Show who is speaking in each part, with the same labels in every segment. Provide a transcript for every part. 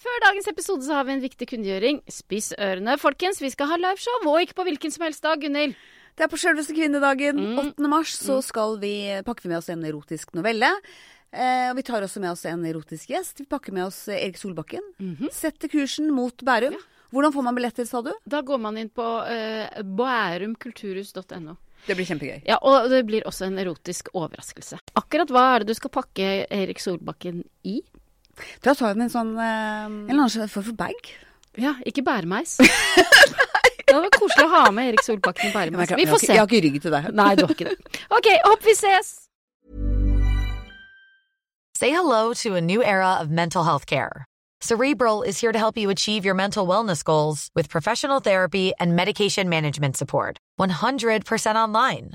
Speaker 1: Før dagens episode så har vi en viktig kunngjøring. Spiss ørene, folkens. Vi skal ha liveshow, og ikke på hvilken som helst dag, Gunhild.
Speaker 2: Det er på selveste kvinnedagen.
Speaker 1: Mm.
Speaker 2: 8. mars så skal vi, eh, pakker vi med oss en erotisk novelle. Eh, og vi tar også med oss en erotisk gjest. Vi pakker med oss eh, Erik Solbakken. Setter kursen mot Bærum. Hvordan får man billetter, sa du?
Speaker 1: Da går man inn på eh, bærumkulturhus.no.
Speaker 2: Det blir kjempegøy.
Speaker 1: Ja, og det blir også en erotisk overraskelse. Akkurat hva er det du skal pakke Erik Solbakken i?
Speaker 2: Da tar vi med en sånn eh, En eller annen form for bag.
Speaker 1: Ja, ikke bæremeis. det var koselig å ha med Erik Solbakken i bæremeis. Vi får se.
Speaker 2: Jeg har ikke rygg til deg.
Speaker 1: Nei, du har ikke det. OK, håper vi ses!
Speaker 3: Say hello to a new era of mental health care. Cerebral is here to help you achieve your mental wellness goals with professional therapy and medication management support. 100% online.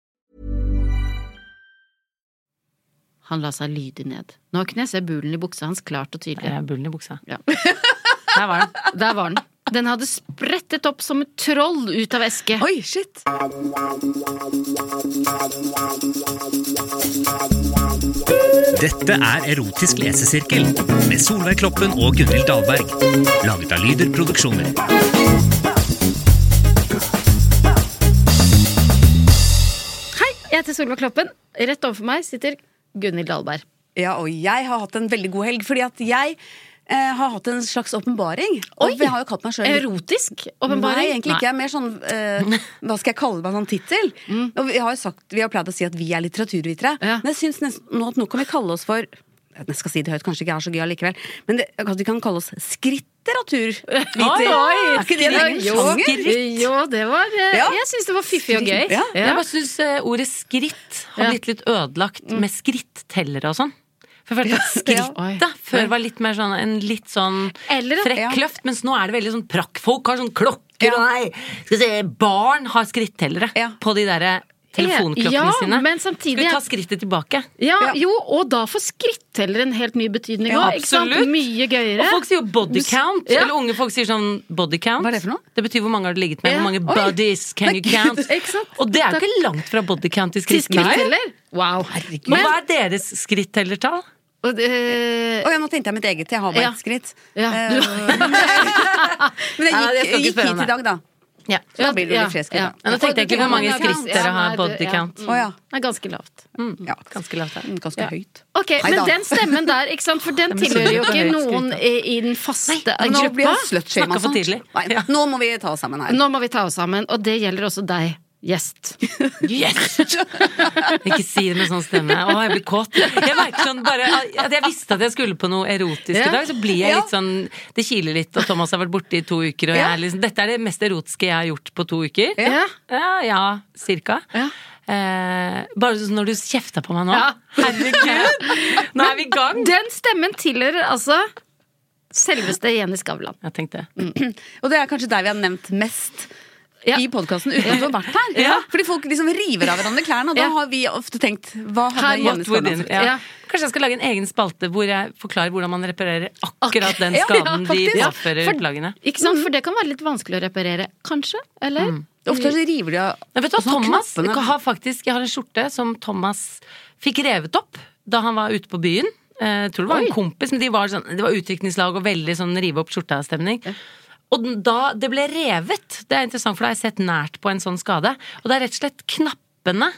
Speaker 1: Han la seg lydig ned. Nå kunne jeg se bulen i buksa hans klart og tydelig.
Speaker 4: Eh, Bullen i buksa.
Speaker 1: Ja.
Speaker 4: Der var den.
Speaker 1: Der var den. Den hadde sprettet opp som et troll ut av eske.
Speaker 2: Oi, shit!
Speaker 5: Dette er Erotisk lesesirkel med Solveig Kloppen og Gunhild Dahlberg. Laget av Lyder Produksjoner.
Speaker 1: Hei, jeg heter Solveig Kloppen. Rett overfor meg sitter Gunhild Dahlberg.
Speaker 6: Ja, og jeg har hatt en veldig god helg, fordi at jeg eh, har hatt en slags åpenbaring. Og
Speaker 1: Oi!
Speaker 6: jeg har jo kalt meg sjøl
Speaker 1: Erotisk åpenbaring?
Speaker 6: Nei, egentlig ikke. Jeg er mer sånn eh, Hva skal jeg kalle meg? Sånn tittel?
Speaker 4: Mm.
Speaker 6: Og vi har jo sagt, vi har pleid å si at vi er litteraturvitere.
Speaker 1: Ja.
Speaker 6: Men jeg syns nesten nå at nå kan vi kalle oss for Jeg skal si det høyt, kanskje ikke er så gøy allikevel. Men det, at vi kan kalle oss skritteraturviter. er ikke det en egen
Speaker 1: jo,
Speaker 6: sjanger?
Speaker 1: jo, det var eh,
Speaker 6: Ja.
Speaker 1: Jeg syns det var fiffig og gøy.
Speaker 6: Ja.
Speaker 4: Jeg bare syns ordet skritt har
Speaker 1: Ja. Mm.
Speaker 4: blitt litt ødelagt med skrittellere og sånn. For jeg følte at skrittet
Speaker 1: Oi.
Speaker 4: før var litt mer sånn en litt sånn
Speaker 1: Eller at-
Speaker 4: frekk
Speaker 1: Ja.
Speaker 4: kløft, mens nå er det veldig sånn prakkfolk har sånn klokker og nei, skal vi se, barn har skrittellere
Speaker 6: Ja.
Speaker 4: på de derre telefonklokkene
Speaker 1: Ja,
Speaker 4: sine.
Speaker 1: men samtidig-
Speaker 4: Skal vi ta skrittet tilbake?
Speaker 1: Ja,
Speaker 6: Ja.
Speaker 1: Jo, og da får skritteller en helt ny betydning
Speaker 4: Ja,
Speaker 1: òg. ikke sant?
Speaker 4: absolutt.
Speaker 1: Mye gøyere.
Speaker 4: Og folk sier jo body count.
Speaker 1: Ja.
Speaker 4: Eller unge folk sier sånn body count.
Speaker 6: Hva er det for noe?
Speaker 4: Det betyr hvor mange har du ligget med.
Speaker 1: Ja.
Speaker 4: Hvor mange
Speaker 1: Oi.
Speaker 4: bodies can you count?
Speaker 1: Ikke sant?
Speaker 4: Og det er jo ikke langt fra body count til
Speaker 1: Til
Speaker 4: skritt.
Speaker 1: skritteller. Wow.
Speaker 4: Men hva er deres skrittellertall?
Speaker 1: Og det- eh,
Speaker 6: Å ja, nå tenkte jeg mitt eget. Jeg har bare
Speaker 1: Ja.
Speaker 6: ett skritt.
Speaker 1: Ja,
Speaker 6: Eh,
Speaker 1: du-
Speaker 6: men jeg
Speaker 4: Ja, det
Speaker 6: gikk,
Speaker 4: skal ikke
Speaker 6: gikk
Speaker 4: spørre
Speaker 6: hit
Speaker 4: om det.
Speaker 6: i dag, da.
Speaker 4: Ja.
Speaker 6: Så da blir det jo litt flere skritt.
Speaker 1: ja.
Speaker 6: da.
Speaker 4: Nå tenkte jeg ikke hvor mange
Speaker 1: Ja,
Speaker 4: skritt dere har
Speaker 1: nei,
Speaker 4: body
Speaker 1: det- ja. Mm.
Speaker 4: count.
Speaker 6: Å ja.
Speaker 1: Det er ganske lavt.
Speaker 6: ja.
Speaker 4: Ganske lavt der.
Speaker 6: Mm, Ganske høyt.
Speaker 1: Ok, Men
Speaker 6: da.
Speaker 1: den stemmen der, ikke sant? for den
Speaker 4: Den
Speaker 1: tilhører jo
Speaker 4: misunner
Speaker 1: ikke
Speaker 4: jeg på høyt
Speaker 1: noen
Speaker 4: skryt,
Speaker 1: i i den faste
Speaker 6: Nå blir
Speaker 1: gruppa.
Speaker 6: jeg slutshamed
Speaker 4: Snakket for
Speaker 6: sånn.
Speaker 4: tidlig.
Speaker 6: Nei,
Speaker 4: Ja.
Speaker 6: Nå må vi ta oss sammen her.
Speaker 1: Nå må vi ta oss sammen, og det gjelder også deg, gjest.
Speaker 4: Yes! ikke si det med sånn stemme. Å, jeg blir kåt. Jeg merker sånn bare at jeg visste at jeg skulle på noe erotisk
Speaker 1: Ja.
Speaker 4: i dag, så blir jeg
Speaker 6: Ja.
Speaker 4: litt sånn Det kiler litt, og Thomas har vært borte i to uker, og jeg
Speaker 6: Ja.
Speaker 4: er liksom Dette er det mest erotiske jeg har gjort på to uker.
Speaker 1: Ja.
Speaker 4: Ja, ja cirka.
Speaker 1: Ja.
Speaker 4: Eh, bare sånn når du kjefta på meg nå.
Speaker 1: Ja.
Speaker 4: Herregud! Nå er vi i gang.
Speaker 1: Den stemmen tilhører altså selveste Jenny Skavlan.
Speaker 4: Jeg tenkte
Speaker 6: Og det er kanskje der vi har nevnt mest
Speaker 1: Ja.
Speaker 6: i podkasten uten at du har vært her.
Speaker 4: Ja.
Speaker 6: Fordi folk liksom river av hverandre klærne, og da
Speaker 1: Ja.
Speaker 6: har vi ofte tenkt Hva hadde
Speaker 1: Her
Speaker 6: Jenny
Speaker 4: What would
Speaker 6: Skavlan
Speaker 4: in,
Speaker 6: sagt?
Speaker 4: ja.
Speaker 1: Ja.
Speaker 4: Kanskje jeg skal lage en egen spalte hvor jeg forklarer hvordan man reparerer akkurat den
Speaker 6: Ja,
Speaker 4: skaden de
Speaker 6: faktisk.
Speaker 4: påfører
Speaker 1: For-
Speaker 4: utlagene.
Speaker 1: Ikke sant? For det kan være litt vanskelig å reparere, kanskje? Eller?
Speaker 4: Mm.
Speaker 6: Ofte så river de av
Speaker 4: Nei, vet du hva,
Speaker 6: Og så har
Speaker 4: Thomas,
Speaker 6: knappene-
Speaker 4: jeg har faktisk Jeg har en skjorte som Thomas fikk revet opp da han var ute på byen. Eh, Jeg tror det var
Speaker 1: Oi.
Speaker 4: en kompis, men de var sånn, det var utdrikningslag og veldig sånn rive opp skjorta-stemning. Og den- da det ble revet, det er interessant, for det har jeg sett nært på en sånn skade, og det er rett og slett knappene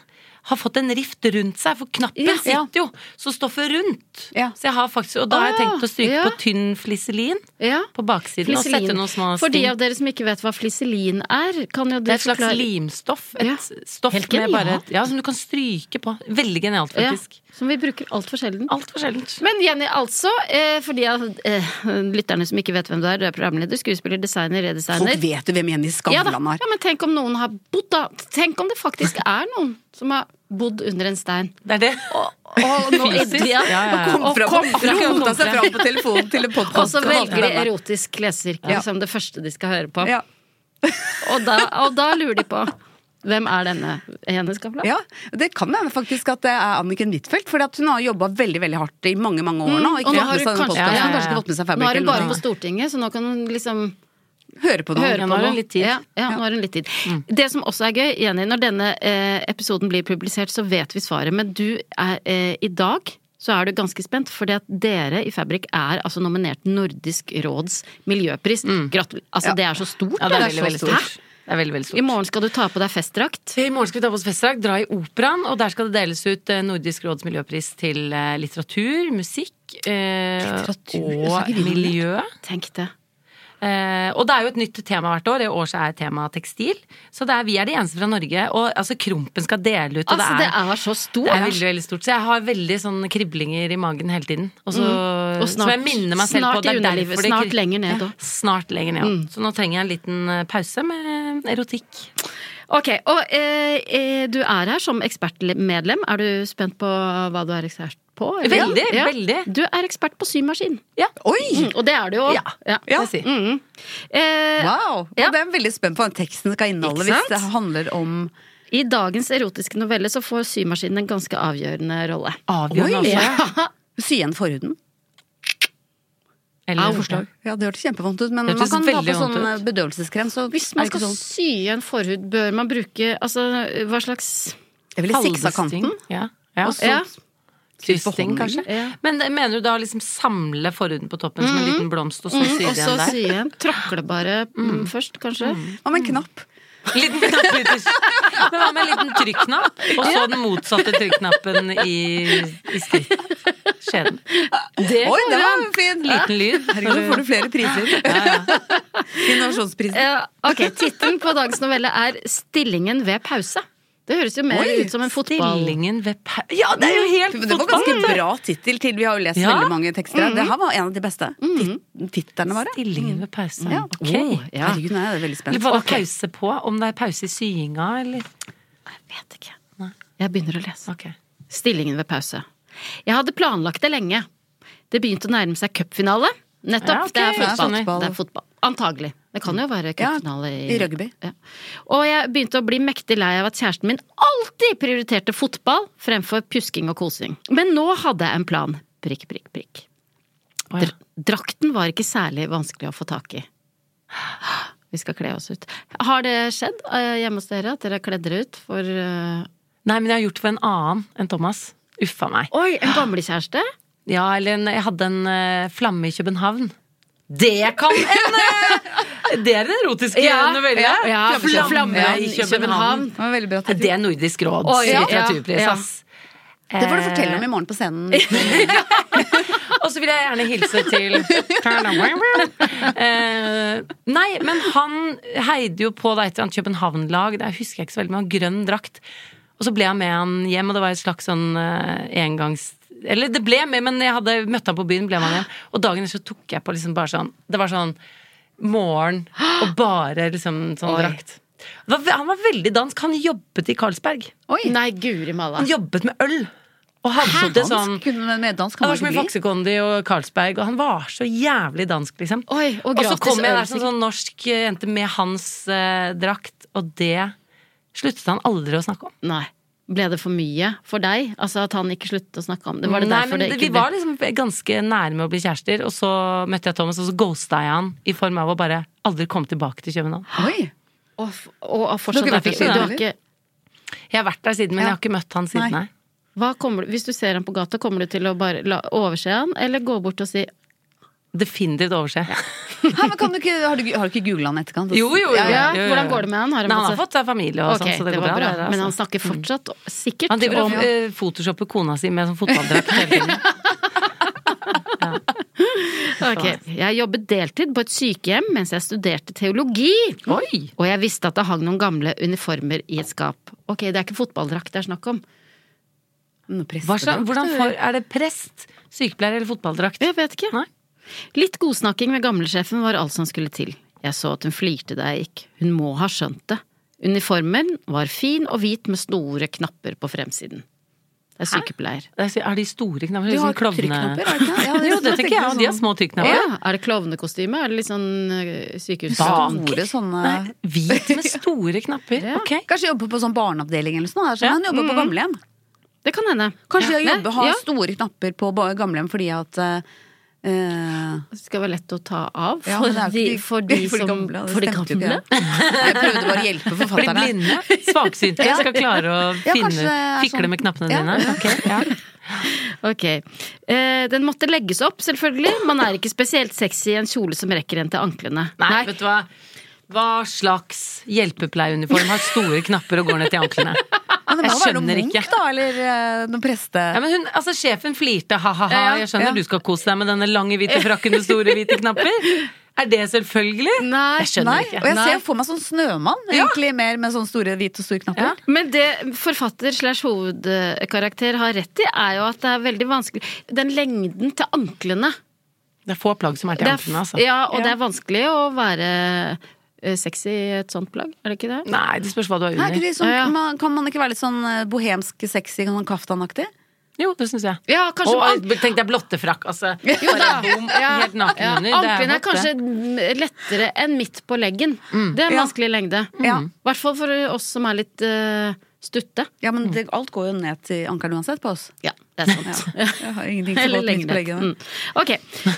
Speaker 4: har fått en rift rundt seg, for knappen
Speaker 6: Ja.
Speaker 4: sitter jo så stoffet rundt.
Speaker 6: Ja.
Speaker 4: Så jeg har faktisk, og da har jeg
Speaker 1: Ah,
Speaker 4: tenkt å stryke
Speaker 1: ja.
Speaker 4: på tynn fliselin
Speaker 1: Ja.
Speaker 4: på baksiden og sette noen små
Speaker 1: Fliselin. For de av dere som ikke vet hva fliselin er, kan jo
Speaker 4: Det
Speaker 1: dere
Speaker 4: er et slags
Speaker 1: forklare-
Speaker 4: limstoff. Et
Speaker 1: Ja.
Speaker 4: stoff
Speaker 1: Helt
Speaker 4: med bare
Speaker 1: genialt.
Speaker 4: et, ja, som du kan stryke på. Veldig genialt, faktisk.
Speaker 1: Ja, som vi bruker altfor sjelden.
Speaker 4: Altfor sjeldent.
Speaker 1: Men Jenny, altså, eh, for de av eh, lytterne som ikke vet hvem du er, du er programleder, skuespiller, designer, redesigner.
Speaker 6: Folk vet jo hvem Jenny
Speaker 1: Ja, da.
Speaker 6: Skavlan
Speaker 1: ja,
Speaker 6: er.
Speaker 1: men tenk om noen har bodd da Tenk om det faktisk er noen som har bodd under en stein.
Speaker 4: Det er det.
Speaker 1: Og nå
Speaker 4: Fysisk. Ja, ja, ja.
Speaker 1: Og kom fra
Speaker 6: Kom fra
Speaker 4: kom
Speaker 6: rota seg
Speaker 4: fra.
Speaker 6: fram på telefonen til en
Speaker 1: Og så
Speaker 6: podkast.
Speaker 1: velger de erotisk lesesirkel
Speaker 6: Ja.
Speaker 1: som det første de skal høre på.
Speaker 6: Ja.
Speaker 1: Og, da, og da lurer de på hvem er denne Jenny Skavlan?
Speaker 6: Ja, Det kan hende faktisk at det er Anniken Huitfeldt. For hun har jobba veldig veldig hardt i mange mange år nå. Og ikke
Speaker 1: Mm. Og nå
Speaker 6: fått med
Speaker 1: har hun
Speaker 6: seg den
Speaker 1: kanskje,
Speaker 6: podcasten,
Speaker 1: ja, ja, ja.
Speaker 6: kanskje ikke fått med seg
Speaker 1: Nå er hun bare på
Speaker 6: fabrikken.
Speaker 1: Stortinget, så nå kan hun liksom
Speaker 6: Høre på
Speaker 1: høre
Speaker 6: noe.
Speaker 1: på
Speaker 4: har hun
Speaker 1: nå.
Speaker 4: litt tid.
Speaker 1: Ja, ja, nå har hun litt tid. Det som også er gøy, Jenny, når denne eh, episoden blir publisert, så vet vi svaret. Men du er eh, i dag så er du ganske spent, fordi at dere i Fabrik er altså nominert Nordisk råds miljøpris. Gratulerer. Altså, det er så stort.
Speaker 4: Ja, det er
Speaker 1: så
Speaker 4: veldig, veldig stort. Det er veldig, veldig
Speaker 1: Hæ? I
Speaker 4: stort.
Speaker 1: morgen skal du ta på deg festdrakt.
Speaker 4: I morgen skal vi ta på oss festdrag, dra i operaen, og der skal det deles ut eh, Nordisk råds miljøpris til eh, litteratur, musikk eh,
Speaker 6: Litteratur? Jeg sa
Speaker 4: og
Speaker 6: ikke vi ville.
Speaker 4: miljø.
Speaker 1: Tenk det.
Speaker 4: Eh, og det er jo et nytt tema hvert år. I år så er temaet tekstil. Så det er, vi er de eneste fra Norge. Og altså, Krompen skal dele ut, og
Speaker 1: Altså,
Speaker 4: det
Speaker 1: det
Speaker 4: er
Speaker 1: er så stort.
Speaker 4: Det er veldig, veldig stort. Så jeg har veldig sånn kriblinger i magen hele tiden. Og så,
Speaker 1: Mm. Og snart-
Speaker 4: som jeg minner meg selv
Speaker 1: snart
Speaker 4: på. det
Speaker 1: i
Speaker 4: er
Speaker 1: underlivet,
Speaker 4: derfor det
Speaker 1: snart
Speaker 4: kri-
Speaker 1: lenger ned Mm.
Speaker 4: Ja,
Speaker 1: også.
Speaker 4: Snart lenger ned. ja. Så nå trenger jeg en liten eh, pause med erotikk.
Speaker 1: Ok, og eh, eh, du er her som ekspertmedlem. Er du spent på hva du er ekspert på? eller?
Speaker 4: Veldig, veldig.
Speaker 1: Du er ekspert på symaskin.
Speaker 6: Oi!
Speaker 1: Mm, og det er du jo.
Speaker 4: Ja,
Speaker 6: Ja.
Speaker 4: må jeg si.
Speaker 1: Mm. Eh,
Speaker 6: Wow!
Speaker 1: Ja.
Speaker 6: Og det er jeg veldig spent på hva den teksten skal inneholde,
Speaker 4: Ikke sant?
Speaker 6: hvis det handler om
Speaker 1: I dagens erotiske novelle så får symaskinen en ganske avgjørende rolle.
Speaker 4: Avgjørende
Speaker 6: Oi!
Speaker 4: avslag.
Speaker 6: sy igjen forhuden.
Speaker 4: Eller
Speaker 1: Au.
Speaker 4: forslag.
Speaker 6: Ja, det hørtes kjempevondt ut, men
Speaker 4: Det
Speaker 6: man
Speaker 4: hørtes
Speaker 6: kan ta på
Speaker 4: veldig
Speaker 6: sånn
Speaker 4: vondt ut.
Speaker 6: bedøvelseskrem, så
Speaker 1: Hvis
Speaker 6: er
Speaker 1: man
Speaker 6: det
Speaker 1: skal
Speaker 6: ikke sånn.
Speaker 1: sy en forhud, bør man bruke Altså, hva slags
Speaker 6: Jeg ville siksa kanten.
Speaker 4: Ja. Ja.
Speaker 6: Og så
Speaker 1: Ja.
Speaker 4: Kryssing, kanskje.
Speaker 1: Ja.
Speaker 4: Men det- mener du da liksom samle forhuden på toppen som en liten blomst, og så sy
Speaker 1: Mm. Og
Speaker 4: det
Speaker 1: så
Speaker 4: igjen der?
Speaker 1: sy igjen. Tråkle bare mm, først, kanskje.
Speaker 6: Hva med en knapp?
Speaker 4: Liten knapp ytterst. Men hva med en liten trykknapp, og så den motsatte trykknappen i, i skritt? Skjeden.
Speaker 1: Det
Speaker 6: Oi, det
Speaker 1: går
Speaker 6: var
Speaker 1: an.
Speaker 6: fin!
Speaker 4: Liten lyd.
Speaker 6: Herregud, nå får du flere priser. Innovasjonsprisen.
Speaker 1: Eh, ok, Tittelen på dagens novelle er 'Stillingen ved pause'. Det høres jo mer ut som en fotball...
Speaker 4: Stillingen ved pau... Ja, det er jo helt
Speaker 6: Men Mm. det var ganske bra tittel til. Vi har jo lest
Speaker 4: Ja. Mm.
Speaker 6: veldig mange tekster. Det her var en av de beste tit- titlene våre.
Speaker 4: Stillingen ved pause.
Speaker 6: Ja.
Speaker 4: Ok.
Speaker 6: Åh, ja. Herregud, nå er jeg veldig
Speaker 4: Eller
Speaker 6: spent.
Speaker 4: var det pause på? Om det er pause i syinga, eller?
Speaker 1: Vet ikke. Jeg begynner å lese.
Speaker 4: Ok.
Speaker 1: Stillingen ved pause. Jeg hadde planlagt det lenge. Det begynte å nærme seg cupfinale.
Speaker 4: Ja,
Speaker 1: Nettopp.
Speaker 4: ok,
Speaker 1: det, er
Speaker 4: jeg
Speaker 1: fotball.
Speaker 4: skjønner.
Speaker 1: det er fotball. Antagelig. Det kan jo være cupfinale
Speaker 6: i rugby.
Speaker 1: Ja. Og jeg begynte å bli mektig lei av at kjæresten min alltid prioriterte fotball fremfor pjusking og kosing. Men nå hadde jeg en plan. Prikk, prikk, prikk.
Speaker 4: Å, ja.
Speaker 1: Dr drakten var ikke særlig vanskelig å få tak i. Vi skal kle oss ut. Har det skjedd eh, hjemme hos dere at dere har kledd dere ut for eh,
Speaker 4: Nei, men jeg har gjort det for en annen enn Thomas. Uffa meg.
Speaker 1: Oi, en gamlekjæreste?
Speaker 4: Ja, eller en, jeg hadde en eh, flamme i København. Det kan en eh, Det er en erotisk
Speaker 1: Ja,
Speaker 4: novelle.
Speaker 1: ja, ja.
Speaker 4: Flamme,
Speaker 1: Flamme
Speaker 4: i København.
Speaker 6: Det var veldig bra
Speaker 4: Det
Speaker 6: tittel.
Speaker 4: er Nordisk råds
Speaker 1: Oi, ja,
Speaker 4: litteraturpris,
Speaker 1: ja.
Speaker 4: ass.
Speaker 6: Det får du fortelle om i morgen på scenen.
Speaker 4: Og så vil jeg gjerne hilse til Eh, Nei, men han heide jo på det et eller annet København-lag, det husker jeg ikke så veldig, men han hadde grønn drakt. Og så ble jeg med han hjem, og det var et slags sånn eh, engangs... Eller det ble med, men jeg hadde møtt han på byen, ble med han hjem. Og dagen etter så tok jeg på liksom bare sånn Det var sånn morgen og bare liksom sånn drakt. Det var, ve- han var veldig dansk. Han jobbet i Carlsberg.
Speaker 6: Oi!
Speaker 1: Nei, guri malla.
Speaker 4: Han jobbet med øl. Og hadde det sånn
Speaker 6: Dansk, kunne- med dansk
Speaker 4: han
Speaker 6: kan
Speaker 4: var så
Speaker 6: man ikke
Speaker 4: mye
Speaker 6: bli.
Speaker 4: Faksekondi og Carlsberg, og han var så jævlig dansk, liksom.
Speaker 1: Oi, og
Speaker 4: så
Speaker 1: gratis
Speaker 4: kom jeg
Speaker 1: øl,
Speaker 4: der som sånn norsk eh, jente med hans eh, drakt, og det sluttet han aldri å snakke om.
Speaker 1: Nei. Ble det for mye for deg? Altså At han ikke sluttet å snakke om det? Var det
Speaker 4: Nei,
Speaker 1: derfor
Speaker 4: men
Speaker 1: det
Speaker 4: Vi
Speaker 1: ikke
Speaker 4: var liksom ganske nære med å bli kjærester, og så møtte jeg Thomas, og så ghosta jeg han i form av å bare aldri komme tilbake til København.
Speaker 6: Oi!
Speaker 1: Og, f- og, og
Speaker 6: Du
Speaker 1: fortsatt
Speaker 6: har ikke vært der
Speaker 1: ikke,
Speaker 6: siden,
Speaker 1: du har ikke,
Speaker 4: Jeg har vært der siden, men
Speaker 6: Ja.
Speaker 4: jeg har ikke møtt han siden,
Speaker 6: Nei.
Speaker 4: nei.
Speaker 1: hva kommer, du- Hvis du ser han på gata, kommer du til å bare la, overse han, eller gå bort og si
Speaker 4: definitivt overse.
Speaker 2: Hæ, men kan du ikke, har, du, har du ikke googla han i etterkant?
Speaker 4: Jo, jo, jo.
Speaker 1: Ja,
Speaker 4: jo, jo.
Speaker 1: Hvordan går det med han? Har
Speaker 4: Nei, han har
Speaker 1: masse-
Speaker 4: fått seg familie og
Speaker 1: Ok,
Speaker 4: sånn, så det,
Speaker 1: det
Speaker 4: går
Speaker 1: var
Speaker 4: bra.
Speaker 1: bra.
Speaker 4: det,
Speaker 1: Men
Speaker 4: altså.
Speaker 1: han snakker fortsatt sikkert
Speaker 4: Han driver og
Speaker 1: om
Speaker 4: eh, photoshopper kona si med sånn fotballdrakt hele tiden.
Speaker 1: Ok, Jeg jobbet deltid på et sykehjem mens jeg studerte teologi.
Speaker 4: Oi!
Speaker 1: Og jeg visste at det hang noen gamle uniformer i et skap. Ok, det er ikke fotballdrakt det er snakk om.
Speaker 4: Hva slags- hvordan får, er det prest, sykepleier eller fotballdrakt?
Speaker 1: Jeg vet ikke.
Speaker 4: Nei.
Speaker 1: Litt godsnakking med gamlesjefen var alt som skulle til. Jeg så at hun flirte da jeg gikk. Hun må ha skjønt det. Uniformen var fin og hvit med store knapper på fremsiden. Det er sykepleier.
Speaker 4: Det Er så- er de store knapper?
Speaker 2: Du
Speaker 4: sånn
Speaker 2: har
Speaker 4: klovne-
Speaker 2: trykknapper, Liksom har du ikke? Ja, det-
Speaker 4: jo, det
Speaker 2: jeg
Speaker 4: tenker jeg. og De har
Speaker 2: sånn.
Speaker 4: små trykknapper.
Speaker 1: Ja, er det klovnekostyme? Er det litt sånn øh, sykehus...
Speaker 2: Store sånne
Speaker 4: Nei, hvit med store knapper.
Speaker 1: Ja.
Speaker 4: Ok.
Speaker 2: sånn, eh, Kanskje jobbe på sånn barneavdeling eller sånn. Sånn,
Speaker 4: Ja. Mm.
Speaker 2: Han jobber på gamlehjem.
Speaker 1: Det kan hende.
Speaker 2: Kanskje
Speaker 1: Ja.
Speaker 2: jeg jobber, har
Speaker 1: Ja.
Speaker 2: store knapper på ba- gamlehjem fordi at eh,
Speaker 1: Det skal være lett å ta av
Speaker 2: Ja,
Speaker 1: for,
Speaker 2: men det er jo
Speaker 1: de,
Speaker 2: ikke de-
Speaker 1: for de
Speaker 2: for de
Speaker 1: som
Speaker 2: gamle, det
Speaker 1: For de
Speaker 2: stemte jo
Speaker 1: gamle?
Speaker 2: ikke, Jeg prøvde bare å hjelpe
Speaker 4: For de
Speaker 2: forfatterne.
Speaker 4: blinde, svaksynte,
Speaker 2: Ja.
Speaker 4: skal klare å
Speaker 2: Ja,
Speaker 4: finne,
Speaker 2: kanskje det er
Speaker 4: fikle
Speaker 2: sånn.
Speaker 4: med knappene
Speaker 2: Ja.
Speaker 4: dine. Ok, ja.
Speaker 1: Ok. Eh, den måtte legges opp, selvfølgelig. Man er ikke spesielt sexy i en kjole som rekker en til anklene.
Speaker 4: Nei, vet du hva? Hva slags hjelpepleieuniform har store knapper og går ned til anklene?
Speaker 2: Men det må
Speaker 4: Jeg
Speaker 2: jo være noen
Speaker 4: skjønner
Speaker 2: munk,
Speaker 4: ikke.
Speaker 2: da, eller eh, noen preste...
Speaker 4: Ja, men hun, altså, sjefen flirte, ha-ha-ha,
Speaker 2: Ja, ja,
Speaker 4: jeg skjønner
Speaker 2: ja.
Speaker 4: du skal kose deg med denne lange hvite frakken med store hvite knapper. Er det selvfølgelig?
Speaker 1: Nei,
Speaker 4: Jeg skjønner
Speaker 2: Nei, og
Speaker 4: ikke.
Speaker 2: jeg
Speaker 1: Nei.
Speaker 2: ser for meg sånn snømann, egentlig mer med sånne store hvite og store knapper.
Speaker 4: Ja.
Speaker 1: Men det forfatter slash hovedkarakter har rett i, er jo at det er veldig vanskelig Den lengden til anklene.
Speaker 4: Det er få plagg som er til
Speaker 1: Det er f-
Speaker 4: anklene, altså.
Speaker 1: Ja, og
Speaker 2: Ja.
Speaker 1: det er vanskelig å være eh, sexy i et sånt plagg, er det ikke det?
Speaker 4: Nei, det spørs hva du har
Speaker 2: Nei, er ikke
Speaker 4: under.
Speaker 2: det sånn,
Speaker 1: Ja, ja.
Speaker 2: Man, kan man ikke være litt sånn eh, bohemsk sexy, sånn kaftanaktig?
Speaker 4: Jo, det syns jeg.
Speaker 1: Ja, kanskje
Speaker 4: og
Speaker 1: an-
Speaker 4: tenk deg blottefrakk, altså.
Speaker 1: Jo da.
Speaker 4: Bom,
Speaker 1: Ja.
Speaker 4: helt naken
Speaker 1: Ja,
Speaker 4: under. det Mm.
Speaker 1: Anklene er
Speaker 4: hot,
Speaker 1: kanskje
Speaker 4: det.
Speaker 1: lettere enn midt på leggen. Det er en
Speaker 2: Ja.
Speaker 1: vanskelig lengde. I
Speaker 2: Ja.
Speaker 1: hvert fall for oss som er litt eh, stutte.
Speaker 2: Ja, men
Speaker 4: Mm.
Speaker 2: det, alt går jo ned til ankelen uansett på oss. Sånn,
Speaker 1: Ja, det er sant.
Speaker 2: Ja. Jeg har ingenting som
Speaker 1: Eller
Speaker 2: går midt
Speaker 1: lengre.
Speaker 2: på leggene.
Speaker 1: Mm. Ok.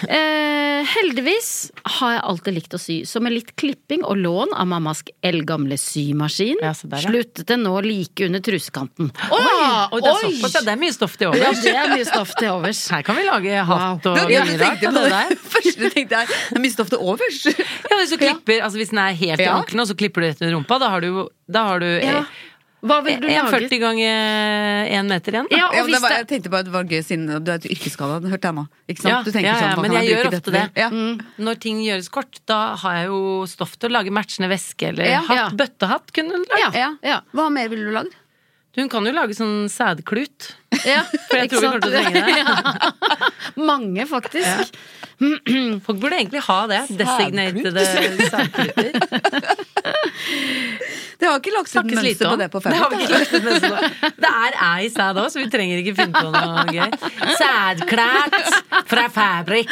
Speaker 1: Eh, heldigvis har jeg alltid likt å sy, så med litt klipping og lån av mammas eldgamle symaskin
Speaker 4: Ja, så der, ja.
Speaker 1: sluttet det nå like under trusekanten. Oi!
Speaker 4: Oi, det er såpass, ja, det er mye stoff til
Speaker 1: Ja,
Speaker 4: overs.
Speaker 1: det er mye stoff til overs.
Speaker 4: Her kan vi lage hatt og
Speaker 2: Ja,
Speaker 4: mye
Speaker 2: du
Speaker 4: rart
Speaker 2: tenkte
Speaker 4: av
Speaker 2: på
Speaker 4: det
Speaker 2: det.
Speaker 4: der.
Speaker 2: Først du tenkte jeg, jeg mister ofte overs.
Speaker 4: Ja, hvis du klipper, altså hvis den er helt i
Speaker 2: Ja.
Speaker 4: anklene, og så klipper du rett under rumpa, da har du, da har du eh,
Speaker 1: Hva ville du
Speaker 4: en
Speaker 1: laget?
Speaker 4: 40 ganger én meter igjen.
Speaker 1: Ja,
Speaker 4: da.
Speaker 2: Ja,
Speaker 1: og
Speaker 2: men det
Speaker 1: hvis
Speaker 2: var,
Speaker 1: det
Speaker 2: jeg tenkte bare at det var gøy siden du er yrkesskada, hørte jeg nå. Ikke sant?
Speaker 4: Ja,
Speaker 2: du tenker
Speaker 4: ja, ja,
Speaker 2: sånn, hva
Speaker 4: men
Speaker 2: kan
Speaker 4: jeg gjør
Speaker 2: bruke
Speaker 4: ofte
Speaker 2: dette
Speaker 4: det. Mm.
Speaker 2: til? Ja.
Speaker 4: Når ting gjøres kort, da har jeg jo stoff til å lage matchende veske eller
Speaker 1: Ja.
Speaker 4: hatt.
Speaker 1: Ja.
Speaker 4: Bøttehatt kunne hun lagd.
Speaker 1: Ja. Ja.
Speaker 2: Hva mer ville du lagd?
Speaker 4: Hun kan jo lage sånn sædklut.
Speaker 1: ja,
Speaker 4: For jeg
Speaker 1: ikke sant?
Speaker 4: tror vi kommer til å trenge det.
Speaker 1: Mange, faktisk.
Speaker 4: Folk burde egentlig ha det. Designated eh, sædkluter.
Speaker 2: Det har ikke lagt seg
Speaker 4: Snakkes
Speaker 2: et mønster
Speaker 4: lite
Speaker 2: på
Speaker 4: om.
Speaker 2: det på
Speaker 4: Det
Speaker 2: fem
Speaker 4: har vi ikke lagt ut mønster på. Det er ei sæd òg, så vi trenger ikke finne på noe gøy. Sædklært fra Fabrik.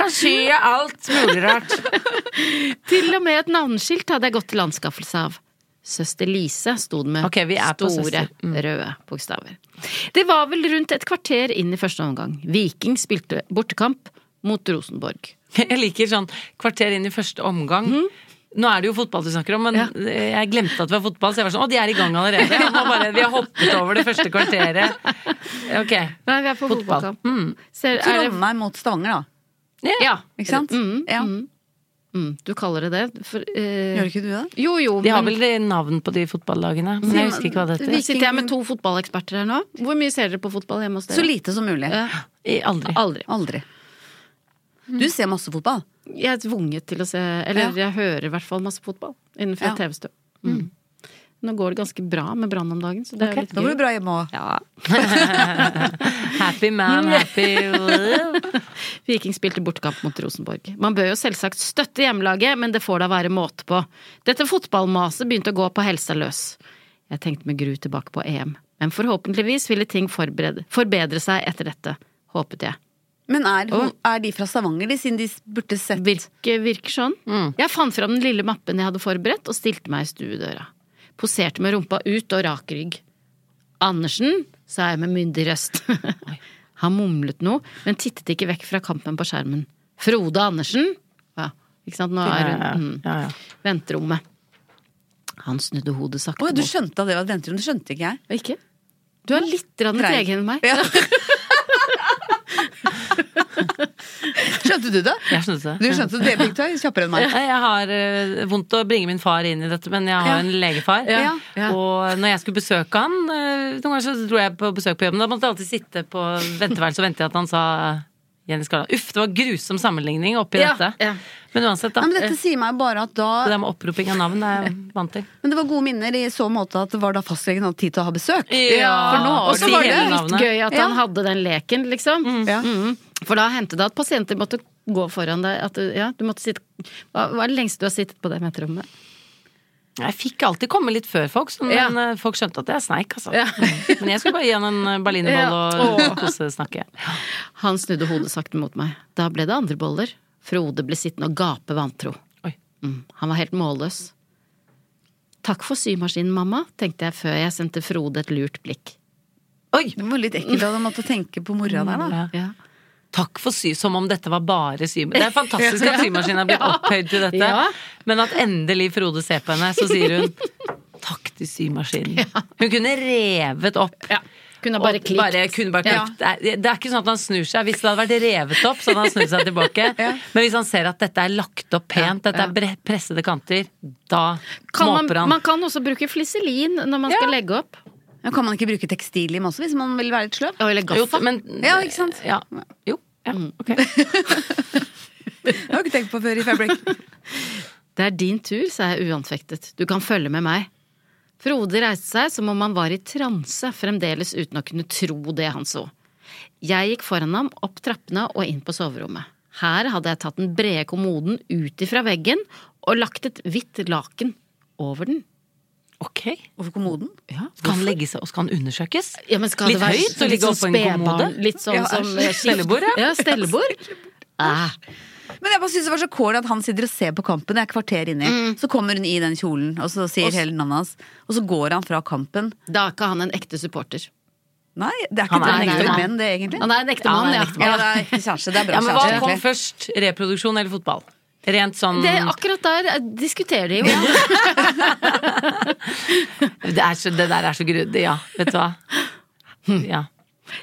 Speaker 4: Kan sy alt mulig rart.
Speaker 1: Til og med et navneskilt hadde jeg gått til anskaffelse av. Søster Lise sto det med
Speaker 4: Ok, vi er på
Speaker 1: store,
Speaker 4: søster. Mm.
Speaker 1: røde bokstaver. Det var vel rundt et kvarter inn i første omgang. Viking spilte bortekamp mot Rosenborg.
Speaker 4: Jeg liker sånn kvarter inn i første omgang. Nå er det jo fotball du snakker om, men jeg glemte at det var fotball. Så jeg var sånn, å de er i gang allerede. Jeg må bare, vi har hoppet over det første kvarteret. Ok.
Speaker 1: Nei, vi er på
Speaker 4: Fotball.
Speaker 1: fotballkamp. Mm. Ser, er det,
Speaker 2: Trondheim mot Stavanger, da.
Speaker 1: ja,
Speaker 2: Ikke sant?
Speaker 4: mm,
Speaker 2: ja.
Speaker 1: mm, du kaller det det. For, eh,
Speaker 2: Gjør ikke du det?
Speaker 1: jo, jo,
Speaker 4: De har
Speaker 1: men-
Speaker 4: vel navn på de fotballagene, men jeg husker ikke hva det
Speaker 1: Vi
Speaker 4: heter.
Speaker 1: sitter her med to fotballeksperter her nå. Hvor mye ser dere på fotball hjemme hos dere?
Speaker 2: Så lite som mulig.
Speaker 1: Ja.
Speaker 4: I- Aldri.
Speaker 1: Aldri.
Speaker 2: Aldri.
Speaker 4: Mm.
Speaker 2: Du ser masse fotball.
Speaker 1: Jeg er tvunget til å se Eller
Speaker 2: Ja.
Speaker 1: jeg hører i hvert fall masse fotball innenfor
Speaker 2: Ja.
Speaker 1: TV-stua. Mm. Nå går det ganske bra med Brann om dagen, så det er
Speaker 2: Da
Speaker 1: jo
Speaker 2: blir det
Speaker 1: litt gøy.
Speaker 2: bra hjemme òg.
Speaker 1: Ja.
Speaker 4: Happy man, happy
Speaker 1: Viking spilte bortekamp mot Rosenborg. Man bør jo selvsagt støtte hjemmelaget, men det får da være måte på. Dette fotballmaset begynte å gå på helsa løs. Jeg tenkte med gru tilbake på EM, men forhåpentligvis ville ting forberede, forbedre seg etter dette. Håpet jeg.
Speaker 2: Men er, hun- er de fra Stavanger, de, siden de burde sett
Speaker 1: Virke, virker sånn. Jeg fant fram den lille mappen jeg hadde forberedt, og stilte meg i stuedøra. Poserte med rumpa ut og rak rygg. Andersen, sa jeg med myndig røst. Han mumlet noe, men tittet ikke vekk fra kampen på skjermen. Frode Andersen! Ja, ikke sant, nå er hun mm,
Speaker 4: Ja, ja.
Speaker 1: venterommet. Han snudde hodet sakte
Speaker 2: Å, du
Speaker 1: mot
Speaker 2: skjønte at det var et venterom? Det skjønte ikke jeg.
Speaker 1: Ikke? Du er litt grann
Speaker 2: Treig.
Speaker 1: tregere enn meg.
Speaker 2: Ja. Skjønte du det?
Speaker 4: Jeg skjønte
Speaker 2: Du
Speaker 4: det.
Speaker 2: skjønte det begge to er kjappere enn meg.
Speaker 4: Nei, Jeg har eh, vondt å bringe min far inn i dette, men jeg har en legefar.
Speaker 6: Ja.
Speaker 1: Ja.
Speaker 4: Og når jeg skulle besøke han, eh, noen ganger så dro jeg på besøk på jobben, da måtte jeg alltid sitte på venteværelset og vente til at han sa Jenny Skala. Uff, det var grusom sammenligning oppi
Speaker 1: Ja,
Speaker 4: dette.
Speaker 1: ja.
Speaker 4: Men uansett, da.
Speaker 2: Nei, men dette sier meg bare at da
Speaker 4: Det der med opproping av navn er jeg vant til.
Speaker 2: Men det var gode minner i så måte at det var da fastlegen hadde tid til å ha besøk.
Speaker 1: For nå
Speaker 2: Og
Speaker 1: har
Speaker 2: så
Speaker 1: de
Speaker 2: var det
Speaker 1: hele
Speaker 2: litt
Speaker 1: navnet. Gøy at han hadde den leken, liksom.
Speaker 2: Ja.
Speaker 1: Mm. For da hendte det at pasienter måtte gå foran deg. At du, ja, du måtte sitte Hva hva er det lengste du har sittet på det venterommet?
Speaker 4: Jeg fikk alltid komme litt før folk, så- men
Speaker 1: Ja.
Speaker 4: eh, folk skjønte at jeg sneik, altså.
Speaker 1: Ja.
Speaker 4: Men jeg skulle bare gi han en eh, berlinerboll
Speaker 1: Ja.
Speaker 4: og kosesnakke.
Speaker 1: Han snudde hodet sakte mot meg. Da ble det andre boller. Frode ble sittende og gape vantro.
Speaker 4: Oi.
Speaker 1: Mm, han var helt målløs. Takk for symaskinen, mamma, tenkte jeg før jeg sendte Frode et lurt blikk.
Speaker 4: Oi!
Speaker 2: Det var litt ekkelt at han måtte tenke på mora der, da.
Speaker 4: Ja.
Speaker 1: Ja.
Speaker 4: Takk for sy, som om dette var bare sy... Det er fantastisk at symaskinen er blitt opphøyd til dette.
Speaker 1: Ja.
Speaker 4: Men at endelig Frode ser på henne, så sier hun takk til symaskinen. Hun kunne revet opp.
Speaker 1: Kunne ha bare
Speaker 4: Og
Speaker 1: klikt.
Speaker 4: bare- kunne bare klikt. Det, er, det er ikke sånn at han snur seg. Hvis det hadde vært revet opp, så hadde han snudd seg tilbake. Men hvis han ser at dette er lagt opp pent, dette er bre- pressede kanter, da
Speaker 1: Kan man,
Speaker 4: måper han.
Speaker 1: man kan også bruke fliselin når man skal legge opp.
Speaker 2: Ja, Kan man ikke bruke tekstilim også, hvis man vil være litt sløv?
Speaker 1: Eller
Speaker 4: jo,
Speaker 1: gaffa.
Speaker 4: men,
Speaker 2: Ja, ikke sant?
Speaker 4: Ja. Jo. Mm. Ja, ok.
Speaker 2: Det har jeg ikke tenkt på før i Fabric.
Speaker 1: Det er din tur, sa jeg uanfektet. Du kan følge med meg. Frode reiste seg som om han var i transe, fremdeles uten å kunne tro det han så. Jeg gikk foran ham, opp trappene og inn på soverommet. Her hadde jeg tatt den brede kommoden ut ifra veggen og lagt et hvitt laken over den.
Speaker 4: Ok.
Speaker 2: Over kommoden.
Speaker 4: Skal han legge seg, og skal han undersøkes?
Speaker 1: Ja, men skal
Speaker 4: Litt
Speaker 1: det være
Speaker 4: høyt og ligge
Speaker 1: sånn
Speaker 4: oppå en kommode?
Speaker 1: spedbarn, Litt sånn
Speaker 2: Ja,
Speaker 1: som
Speaker 2: æsj.
Speaker 4: Stellebord, ja.
Speaker 1: ja. Stellebord. Ah,
Speaker 2: Men jeg bare synes det var så kål at han sitter og ser på kampen. Det er et kvarter inni. Så kommer hun i den kjolen, Mm. og så sier hele navnet hans. Og så går han fra kampen.
Speaker 1: da er ikke han en ekte supporter.
Speaker 2: Nei, det er
Speaker 4: Han
Speaker 2: ikke
Speaker 4: er
Speaker 2: det det
Speaker 4: en ekte
Speaker 2: er
Speaker 4: mann.
Speaker 2: menn, det, egentlig.
Speaker 1: Han er en ekte
Speaker 4: Ja, han
Speaker 1: mann,
Speaker 4: er en
Speaker 1: ja.
Speaker 4: ekte
Speaker 2: Ja, det er ikke kjæreste. Det er bra
Speaker 4: Ja, men Hva
Speaker 2: kjæreste.
Speaker 4: kom
Speaker 2: egentlig.
Speaker 4: først? Reproduksjon eller fotball? Rent
Speaker 1: Det,
Speaker 4: sånn Det
Speaker 1: er akkurat der eh, diskuterer de jo.
Speaker 4: er så, det der er så grundig, ja. Vet du hva? Ja.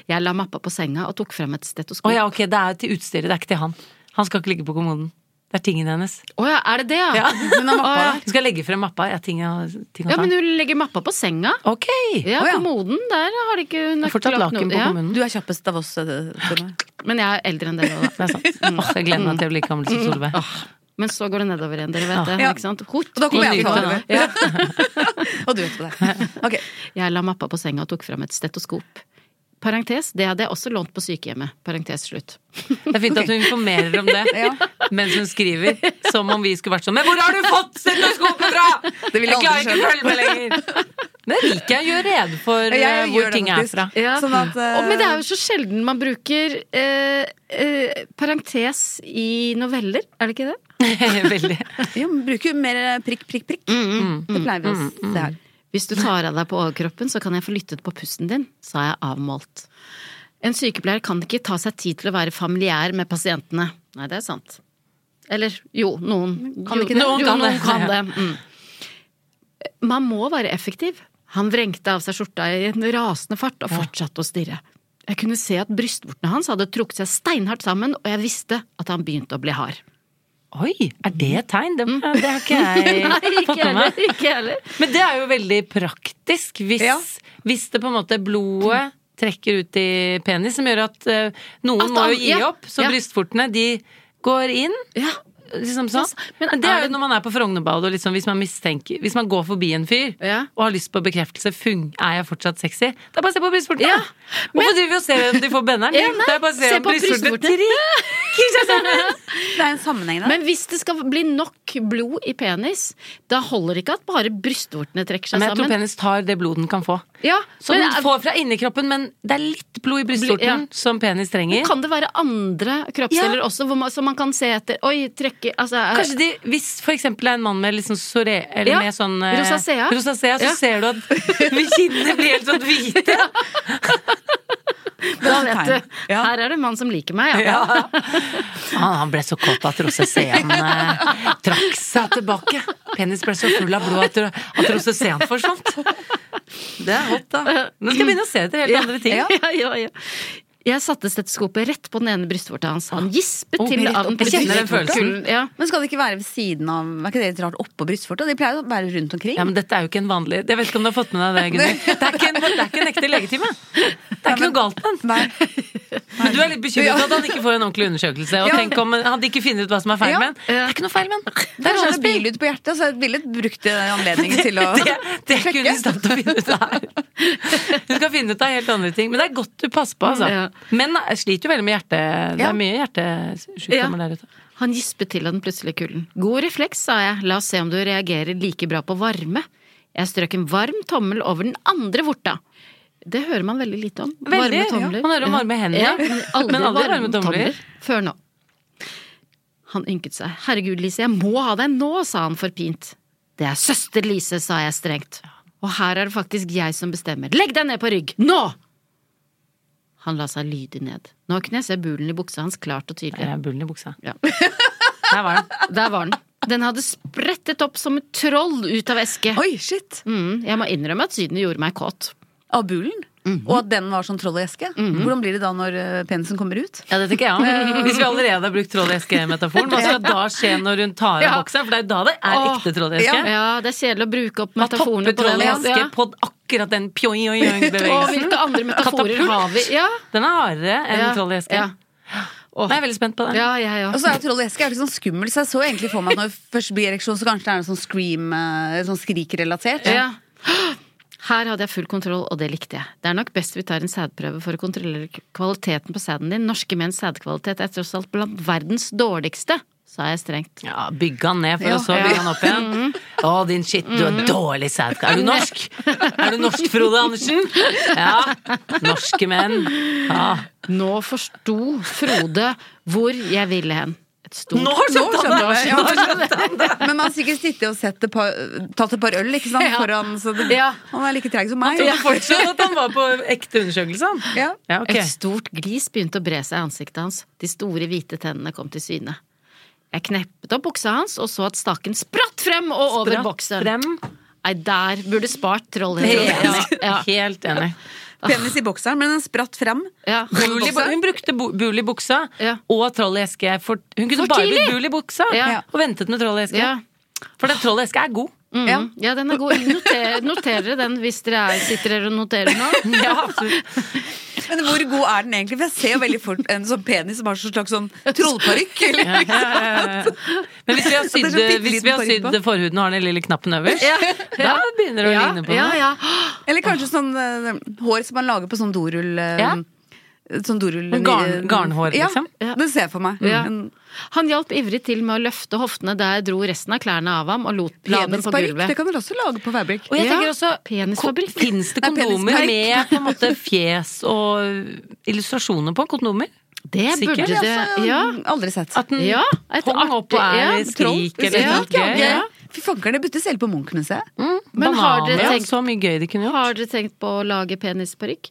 Speaker 1: Jeg la mappa på senga og tok frem et stetoskop.
Speaker 4: Hm. Å ja, ok, det er til utstyret, det er ikke til han. Han skal ikke ligge på kommoden. Det er tingen hennes.
Speaker 1: Å ja, er det det, ja?
Speaker 4: Ja.
Speaker 2: Hun har mappa
Speaker 1: Å, ja.
Speaker 2: der.
Speaker 4: Du skal legge frem mappa. Ja, ting, å- ting å
Speaker 1: Ja,
Speaker 4: ta.
Speaker 1: men hun legger mappa på senga.
Speaker 4: Ok!
Speaker 1: Ja,
Speaker 2: Å, ja.
Speaker 1: kommoden. Der har de ikke hun har ikke
Speaker 4: Fortsatt
Speaker 1: lagt
Speaker 4: laken
Speaker 1: noe-
Speaker 4: på
Speaker 1: ja.
Speaker 4: kommunen.
Speaker 2: Du er kjappest av oss. eh, tror jeg.
Speaker 1: Men jeg er eldre enn dere òg,
Speaker 4: Det
Speaker 1: da.
Speaker 4: er sant. Åh, jeg gleder meg til jeg blir gammel som Solveig.
Speaker 1: Men så går det nedover igjen, dere vet det.
Speaker 2: Ja.
Speaker 1: Ikke sant? Hot,
Speaker 2: Og da kommer jeg
Speaker 1: til
Speaker 2: til å ta
Speaker 1: nytt,
Speaker 2: over.
Speaker 1: ja.
Speaker 2: Og du vet på det. Ok.
Speaker 1: Jeg la mappa på senga og tok frem et stetoskop. Parentes, det hadde jeg også lånt på sykehjemmet. Parentes slutt.
Speaker 4: Det er fint at hun informerer om det
Speaker 2: Ja.
Speaker 4: mens hun skriver. Som om vi skulle vært sånn Men hvor har du fått stetoskopet fra?!
Speaker 2: Det vil jeg
Speaker 4: jeg klarer
Speaker 2: aldri
Speaker 4: ikke å følge med lenger! Det liker jeg å gjøre rede for
Speaker 2: Ja, jeg
Speaker 4: eh, hvor
Speaker 2: gjør det
Speaker 4: ting er
Speaker 2: faktisk.
Speaker 4: fra.
Speaker 2: Ja. Sånn at, eh,
Speaker 1: Å, men det er jo så sjelden man bruker eh, eh, parentes i noveller, er det ikke det?
Speaker 4: Veldig.
Speaker 2: Ja, men bruker jo mer eh, prikk, prikk, prikk. det pleier vi å se her.
Speaker 1: Hvis du tar av deg på overkroppen, så kan jeg få lyttet på pusten din, sa jeg avmålt. En sykepleier kan ikke ta seg tid til å være familiær med pasientene. Nei, det er sant. Eller jo, noen kan
Speaker 4: Jo,
Speaker 1: ikke det.
Speaker 4: noen
Speaker 1: jo,
Speaker 4: kan
Speaker 1: noen
Speaker 4: det.
Speaker 1: kan det. Mm. Man må være effektiv. Han vrengte av seg skjorta i en rasende fart og fortsatte å stirre. Jeg kunne se at brystvortene hans hadde trukket seg steinhardt sammen, og jeg visste at han begynte å bli hard.
Speaker 4: Oi, er det et tegn? Det, det har ikke jeg fått med meg.
Speaker 1: Ikke heller.
Speaker 4: Men det er jo veldig praktisk hvis,
Speaker 2: Ja.
Speaker 4: hvis det på en måte blodet trekker ut i penis, som gjør at eh, noen
Speaker 1: At
Speaker 4: må
Speaker 1: han-
Speaker 4: jo gi
Speaker 1: ja,
Speaker 4: opp. Så
Speaker 1: ja.
Speaker 4: brystfortene, de går inn.
Speaker 1: Ja.
Speaker 4: Liksom sånn.
Speaker 1: Men
Speaker 4: Men det
Speaker 1: er
Speaker 4: er jo
Speaker 1: det-
Speaker 4: når man er på Frognerbadet og liksom, hvis man mistenker Hvis man går forbi en fyr
Speaker 1: Ja.
Speaker 4: og har lyst på bekreftelse, fung, er jeg fortsatt sexy? Da bare se på brystvortene!
Speaker 1: Ja.
Speaker 4: Hvorfor driver vi og ser om de får benderen?
Speaker 1: Ja, nei,
Speaker 4: det er bare å se,
Speaker 1: se
Speaker 4: om
Speaker 1: på
Speaker 4: brystvortene
Speaker 1: brystvortene.
Speaker 4: trykker seg sammen!
Speaker 2: Det er en sammenheng der.
Speaker 1: Men hvis det skal bli nok blod i penis, da holder det ikke at bare brystvortene trekker seg
Speaker 4: Men jeg tror
Speaker 1: sammen.
Speaker 4: penis tar det blodet den kan få.
Speaker 1: Ja,
Speaker 4: Så
Speaker 1: men
Speaker 4: den får fra inni kroppen, men det er litt blod i
Speaker 1: Bli-
Speaker 4: brystvorten
Speaker 1: ja.
Speaker 4: som penis trenger.
Speaker 1: kan det være andre kroppsdeler
Speaker 4: Ja.
Speaker 1: også, hvor man, som man kan se etter? Oi, trekke altså, er-
Speaker 4: Kanskje de, Hvis for eksempel er en mann med liksom sore, eller
Speaker 1: Ja,
Speaker 4: med sånn eh,
Speaker 1: rosacea.
Speaker 4: rosacea, så
Speaker 1: Ja.
Speaker 4: ser du at kinnene blir helt sånn hvite.
Speaker 1: Da vet
Speaker 2: tegn.
Speaker 1: du.
Speaker 2: Ja.
Speaker 1: Her er det en mann som liker meg, ja.
Speaker 4: Han, Ah, han ble så kåt at rosaceaen eh, trakk seg tilbake. Penis ble så full av blod at, at rosaceaen forsvant. Det er hot, da. Nå skal jeg begynne å se etter helt andre ting.
Speaker 1: Ja, ja, ja. Jeg satte stetoskopet rett på den ene brystvorta hans. Han gispet
Speaker 4: Å,
Speaker 1: til
Speaker 4: rett
Speaker 1: av
Speaker 4: opp.
Speaker 1: den
Speaker 4: Jeg kjenner den
Speaker 1: brystvorta.
Speaker 4: følelsen.
Speaker 1: Ja.
Speaker 2: Men skal det ikke være ved siden av Er ikke det litt rart oppå brystvorta? De pleier å være rundt omkring.
Speaker 4: Ja, men dette er jo ikke en vanlig Jeg vet ikke om du har fått med deg det, Gunnhild. Det, er ikke en- det er ikke en ekte legetime. Det er ikke noe galt med den.
Speaker 2: Nei.
Speaker 4: Men du er litt bekymret for at han ikke får en ordentlig undersøkelse. Og
Speaker 2: Ja.
Speaker 4: tenk om han ikke finner ut hva som er feil
Speaker 2: Ja.
Speaker 4: med den. Det er ikke noe feil med den.
Speaker 2: Det er
Speaker 4: Det er
Speaker 2: sånn billyd på hjertet, så jeg ville brukt det anledningen til å
Speaker 4: det, det kunne du stoppet å finne ut av her. Du skal finne ut av helt andre ting. Men det er godt du passer på, altså.
Speaker 1: Ja.
Speaker 4: Menn er- sliter jo veldig med hjerte. Det
Speaker 2: Ja.
Speaker 4: er mye hjertesykdommer
Speaker 1: Ja.
Speaker 4: der ute.
Speaker 1: Han gispet til av den plutselige kulden. God refleks, sa jeg, la oss se om du reagerer like bra på varme. Jeg strøk en varm tommel over den andre vorta. Det hører man veldig lite om.
Speaker 4: Veldig, ja. Man hører om
Speaker 1: Ja.
Speaker 4: varme hender,
Speaker 1: Ja, men aldri,
Speaker 4: men aldri varme
Speaker 1: varme
Speaker 4: tomler.
Speaker 1: tomler. Før nå. Han ynket seg. Herregud, Lise, jeg må ha deg nå, sa han forpint. Det er søster Lise, sa jeg strengt. Og her er det faktisk jeg som bestemmer. Legg deg ned på rygg! Nå! Han la seg lydig ned. Nå kunne jeg se bulen i buksa hans klart og tydelig.
Speaker 4: Det er bullen i buksa.
Speaker 1: Ja.
Speaker 4: Der var den.
Speaker 1: Der var den. Den hadde sprettet opp som et troll ut av eske.
Speaker 2: Oi, shit!
Speaker 1: Mm, jeg må innrømme at synet gjorde meg kåt.
Speaker 2: Av bulen? Og at den var sånn troll i eske? Hvordan blir det da når eh, penisen kommer ut?
Speaker 4: Ja, det tenker jeg også. Hvis vi allerede har brukt tråd i eske-metaforen, hva skal da skje når hun tar av
Speaker 1: Ja.
Speaker 4: boksen? For det er jo da det er
Speaker 1: Åh,
Speaker 4: ekte tråd i eske.
Speaker 1: Ja, det er kjedelig å bruke opp
Speaker 4: Hva topper
Speaker 1: metaforene på
Speaker 4: tråd
Speaker 1: den.
Speaker 4: i
Speaker 1: Ja.
Speaker 4: eske på akkurat den
Speaker 1: Og
Speaker 4: pjoing-bevegelsen?
Speaker 1: hvilke andre metaforer
Speaker 4: Katapult?
Speaker 1: har vi? Ja,
Speaker 4: Den er hardere enn
Speaker 1: ja,
Speaker 4: tråd i eske.
Speaker 1: Ja,
Speaker 4: Nå er jeg veldig spent på den.
Speaker 1: ja, ja, ja.
Speaker 2: Og så er jo troll i eske er litt sånn skummel, så jeg så egentlig for meg at når det først blir ereksjon, så kanskje det er noe sånn scream, eh, sånn skrik-relatert.
Speaker 1: ja. Her hadde jeg full kontroll, og det likte jeg. Det er nok best vi tar en sædprøve for å kontrollere k- kvaliteten på sæden din. Norske menns sædkvalitet er tross alt blant verdens dårligste, sa jeg strengt.
Speaker 4: Ja, Bygge han ned, for
Speaker 2: Ja.
Speaker 4: å så bygge han opp
Speaker 1: Mm.
Speaker 4: igjen. Å, din shit, du er dårlig sædkar. Er du norsk? Er du norsk, Frode Andersen? Ja. Norske menn. Ja.
Speaker 1: Nå forsto Frode hvor jeg ville hen. Et stort
Speaker 2: Nå skjønner jeg det. Ja. Men man har sikkert sittet og sett et par, tatt et par øl ikke sant? foran, så det,
Speaker 1: Ja.
Speaker 2: han er like treg som meg.
Speaker 4: Trodde fortsatt at han var på ekte undersøkelse, han.
Speaker 2: Ja.
Speaker 4: Ja, ok.
Speaker 1: Et stort glis begynte å bre seg i ansiktet hans. De store, hvite tennene kom til syne. Jeg kneppet opp buksa hans og så at staken spratt frem og over
Speaker 4: Bratt
Speaker 1: boksen.
Speaker 4: Frem.
Speaker 1: Nei, der burde spart trollet. Ja,
Speaker 4: Helt
Speaker 1: ja,
Speaker 4: enig. Helt enig.
Speaker 2: Penis i bokseren, men den spratt frem.
Speaker 1: ja.
Speaker 4: Bul i, bu- hun brukte bu- bul i buksa
Speaker 1: Ja.
Speaker 4: og troll i eske. For, hun kunne
Speaker 1: For
Speaker 4: bare blitt
Speaker 1: tidlig!
Speaker 4: bul i buksa
Speaker 1: Ja.
Speaker 4: og ventet med troll i eske.
Speaker 1: Ja.
Speaker 4: For den troll i eske er god.
Speaker 2: Ja.
Speaker 1: Mm, ja, den er god. Noter, noterer den hvis dere er, sitter her og noterer nå.
Speaker 4: Ja, absolutt.
Speaker 2: Men hvor god er den egentlig? For jeg ser jo veldig fort en sånn penis som har sånn slags sånn trollparykk. eller-
Speaker 4: Ja, ja, ja, ja. Men hvis vi har
Speaker 2: Det er
Speaker 4: sydd,
Speaker 2: så bitte
Speaker 4: hvis
Speaker 2: liten
Speaker 4: vi har
Speaker 2: farge
Speaker 4: sydd
Speaker 2: på.
Speaker 4: forhuden og har den lille knappen øverst, da begynner det å
Speaker 1: Ja,
Speaker 4: ligne på
Speaker 1: ja,
Speaker 4: noe.
Speaker 1: ja.
Speaker 2: Eller kanskje sånn eh, hår som man lager på sånn dorull... eh,
Speaker 4: Ja.
Speaker 2: Sånn dorull...
Speaker 4: Men garn- garnhår,
Speaker 2: ja,
Speaker 4: liksom?
Speaker 1: Ja.
Speaker 2: det ser jeg for meg.
Speaker 1: Ja.
Speaker 2: En
Speaker 1: Han hjalp ivrig til med å løfte hoftene da jeg dro resten av klærne av ham og lot la dem på
Speaker 2: penisparykk,
Speaker 1: gulvet.
Speaker 2: det kan dere også lage på Fabrik.
Speaker 4: Og jeg
Speaker 1: Ja,
Speaker 4: tenker også,
Speaker 1: penisfabrikk.
Speaker 4: Fins det
Speaker 2: Nei,
Speaker 4: kondomer
Speaker 2: penisparykk.
Speaker 4: med på en måte fjes og illustrasjoner på? Kondomer?
Speaker 1: Det burde
Speaker 4: Sikkert.
Speaker 1: det Ja.
Speaker 2: Aldri sett.
Speaker 4: At den
Speaker 1: Ja, et
Speaker 4: hong opp Mm. og
Speaker 1: artig-
Speaker 4: er
Speaker 1: ja,
Speaker 4: skrik
Speaker 2: Hvis jeg
Speaker 4: eller
Speaker 1: Ja,
Speaker 4: noe
Speaker 2: ikke hadde-
Speaker 4: gøy? Ja. Mm.
Speaker 2: Fy fanker, det byttes hele på Munch-museet.
Speaker 1: Men har dere
Speaker 4: Bananer og
Speaker 1: tenkt-
Speaker 4: så mye gøy de kunne gjort.
Speaker 1: Har dere tenkt på å lage penisparykk?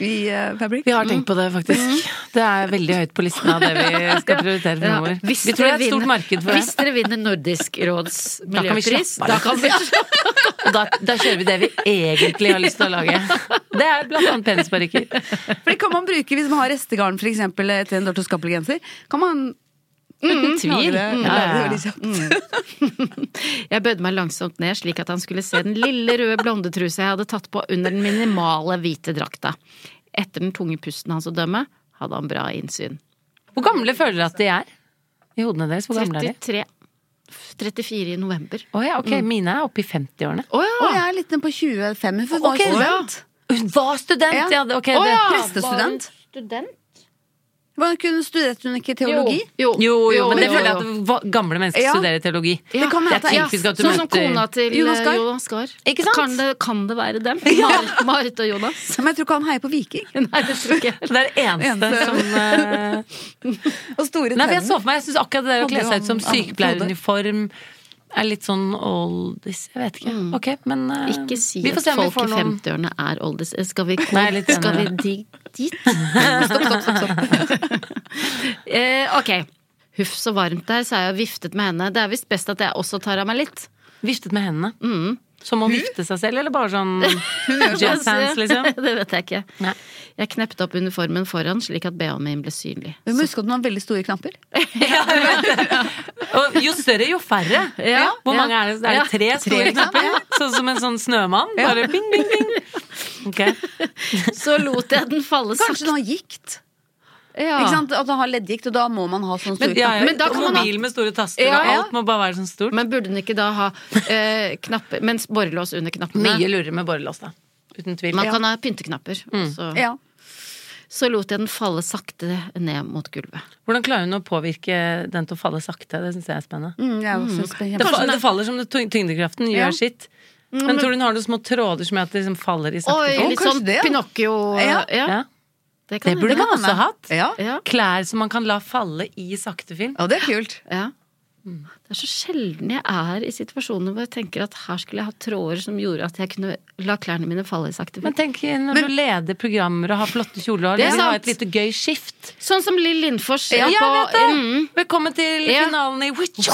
Speaker 2: I eh, Fabrik.
Speaker 4: Vi har tenkt på det, faktisk. Mm. Det er veldig høyt på listen av det vi skal prioritere fremover.
Speaker 1: Hvis
Speaker 4: Vi tror det
Speaker 1: dere
Speaker 4: er et stort
Speaker 1: vinner-
Speaker 4: marked for
Speaker 1: Hvis
Speaker 4: det.
Speaker 1: dere vinner Nordisk råds
Speaker 4: Da kan vi
Speaker 1: miljøpris,
Speaker 4: slappe av.
Speaker 1: da kan vi
Speaker 4: Og da, da kjører vi det vi egentlig har lyst til å lage. Det er blant annet penisparykker.
Speaker 2: For det kan man bruke hvis man har restegarn for eksempel, etter en Dorthe Skappel-genser. Kan man
Speaker 4: Uten
Speaker 2: lage det,
Speaker 4: tvil. Ja,
Speaker 2: lage det
Speaker 4: Mm. ja,
Speaker 2: veldig
Speaker 4: ja.
Speaker 2: kjapt.
Speaker 1: Jeg bøyde meg langsomt ned slik at han skulle se den lille røde blondetrusa jeg hadde tatt på under den minimale hvite drakta. Etter den tunge pusten hans å dømme, hadde han bra innsyn.
Speaker 4: Hvor gamle føler dere at de er? I hodene deres? Hvor gamle er
Speaker 1: 33.
Speaker 4: de?
Speaker 1: 34 i november.
Speaker 4: Å ja, ok, Mine er oppe i 50-årene.
Speaker 1: Å
Speaker 2: Og
Speaker 1: ja!
Speaker 2: jeg er litt ned på 25, for hun var
Speaker 4: Ok,
Speaker 2: jo
Speaker 4: ja.
Speaker 2: student.
Speaker 4: Hun var student! Ja, det- ok.
Speaker 1: Å
Speaker 4: Det.
Speaker 1: ja,
Speaker 2: prestestudent?
Speaker 1: var hun Student?
Speaker 2: Var- Kunne studerte hun ikke teologi?
Speaker 1: Jo,
Speaker 4: Jo, jo, men det føler jeg
Speaker 1: jo.
Speaker 4: at va- gamle mennesker
Speaker 2: Ja.
Speaker 4: studerer teologi.
Speaker 2: Det kan hende
Speaker 4: Det er
Speaker 2: at
Speaker 4: typisk at du
Speaker 1: Sånn som
Speaker 4: møter-
Speaker 1: kona til
Speaker 2: Jonas
Speaker 1: Jonas
Speaker 2: Gahr.
Speaker 1: Gahr. Jonas Gahr.
Speaker 4: Ikke sant?
Speaker 1: Kan, det, kan det være dem? Mar- Marit og Jonas?
Speaker 2: Men jeg tror ikke han heier på viking.
Speaker 1: Nei, det tror ikke jeg.
Speaker 4: Det er det eneste
Speaker 2: Eneste.
Speaker 4: som eh,
Speaker 2: Og store
Speaker 4: Nei, for
Speaker 2: tenner.
Speaker 4: jeg så for meg, jeg synes akkurat det der å kle
Speaker 2: Hadde
Speaker 4: seg ut som
Speaker 2: jo han-
Speaker 4: sykepleieruniform er litt sånn oldies. Jeg vet ikke. Ok, men eh,
Speaker 1: Mm. Ikke si
Speaker 4: vi får
Speaker 1: at
Speaker 4: se om vi
Speaker 1: folk i
Speaker 4: får noen-
Speaker 1: 50-årene er oldies. Skal vi,
Speaker 4: Nei, litt enig.
Speaker 1: skal vi di, dit?
Speaker 2: Stopp, stopp, stopp. stopp.
Speaker 1: Eh, ok. Huff, så varmt det er, sa jeg og viftet med henne. Det er visst best at jeg også tar av meg litt. Mm.
Speaker 4: Viftet med hendene. Som å vifte seg selv, eller bare sånn jazz hands, liksom?
Speaker 1: Altså, det vet jeg ikke.
Speaker 4: Nei.
Speaker 1: Jeg knepte opp uniformen foran slik at bh-en min ble synlig.
Speaker 2: Vi må huske at den har veldig store knapper.
Speaker 4: Og jo større, jo færre.
Speaker 1: Ja.
Speaker 4: Hvor
Speaker 1: Ja.
Speaker 4: mange er det? Er det tre store knapper? Sånn som en sånn snømann? Bare bing, bing, bing. Ok.
Speaker 1: Så lot jeg den falle
Speaker 2: Kanskje
Speaker 1: sakte.
Speaker 2: den har gikt?
Speaker 1: Ja.
Speaker 2: Ikke sant? At den har leddgikt, og da må man ha sånne store
Speaker 4: Men, ja, ja.
Speaker 1: Men da kan
Speaker 4: og
Speaker 1: man ha-
Speaker 4: mobil med store taster,
Speaker 1: Ja,
Speaker 4: og
Speaker 1: ja.
Speaker 4: alt må bare være sånn stort.
Speaker 1: Men burde den ikke da ha eh, knapper Mens borrelås under knappene.
Speaker 4: Mye lurere med borrelås, da. Uten tvil.
Speaker 1: Man kan ha pynteknapper.
Speaker 4: Mm.
Speaker 1: Så,
Speaker 2: knapper. Ja.
Speaker 1: så lot jeg den falle sakte ned mot gulvet.
Speaker 4: Hvordan klarer hun å påvirke den til å falle sakte? Det syns jeg er spennende.
Speaker 2: Mm, jeg er også spent.
Speaker 4: Det, fa det faller som det tyng- tyngdekraften gjør
Speaker 2: Ja.
Speaker 4: sitt. Men tror du hun har noen små tråder som gjør at det liksom faller i
Speaker 1: Mm,
Speaker 4: sakte
Speaker 1: Oi,
Speaker 4: fart?
Speaker 1: litt
Speaker 2: kanskje
Speaker 1: sånn
Speaker 2: det, ja.
Speaker 1: Pinocchio ja.
Speaker 2: Ja.
Speaker 4: Ja.
Speaker 1: Det, kan
Speaker 4: Det burde
Speaker 1: hende.
Speaker 4: man også hatt.
Speaker 2: Ja.
Speaker 1: Ja.
Speaker 4: Klær som man kan la falle i sakte film.
Speaker 2: ja, det er kult.
Speaker 1: Ja.
Speaker 4: Mm.
Speaker 1: Det er så sjelden jeg er i situasjoner hvor jeg tenker at her skulle jeg hatt tråder som gjorde at jeg kunne la klærne mine falle i sakte
Speaker 4: Men
Speaker 1: film.
Speaker 4: tenk når du leder programmer og har flotte kjoler og
Speaker 1: Det er
Speaker 4: liksom har
Speaker 1: sant.
Speaker 4: et lite gøy skift.
Speaker 1: Sånn som Lill Lindfors.
Speaker 4: Ja,
Speaker 1: på-
Speaker 4: jeg vet det!
Speaker 1: Mm,
Speaker 4: Velkommen til
Speaker 1: Ja.
Speaker 4: finalen i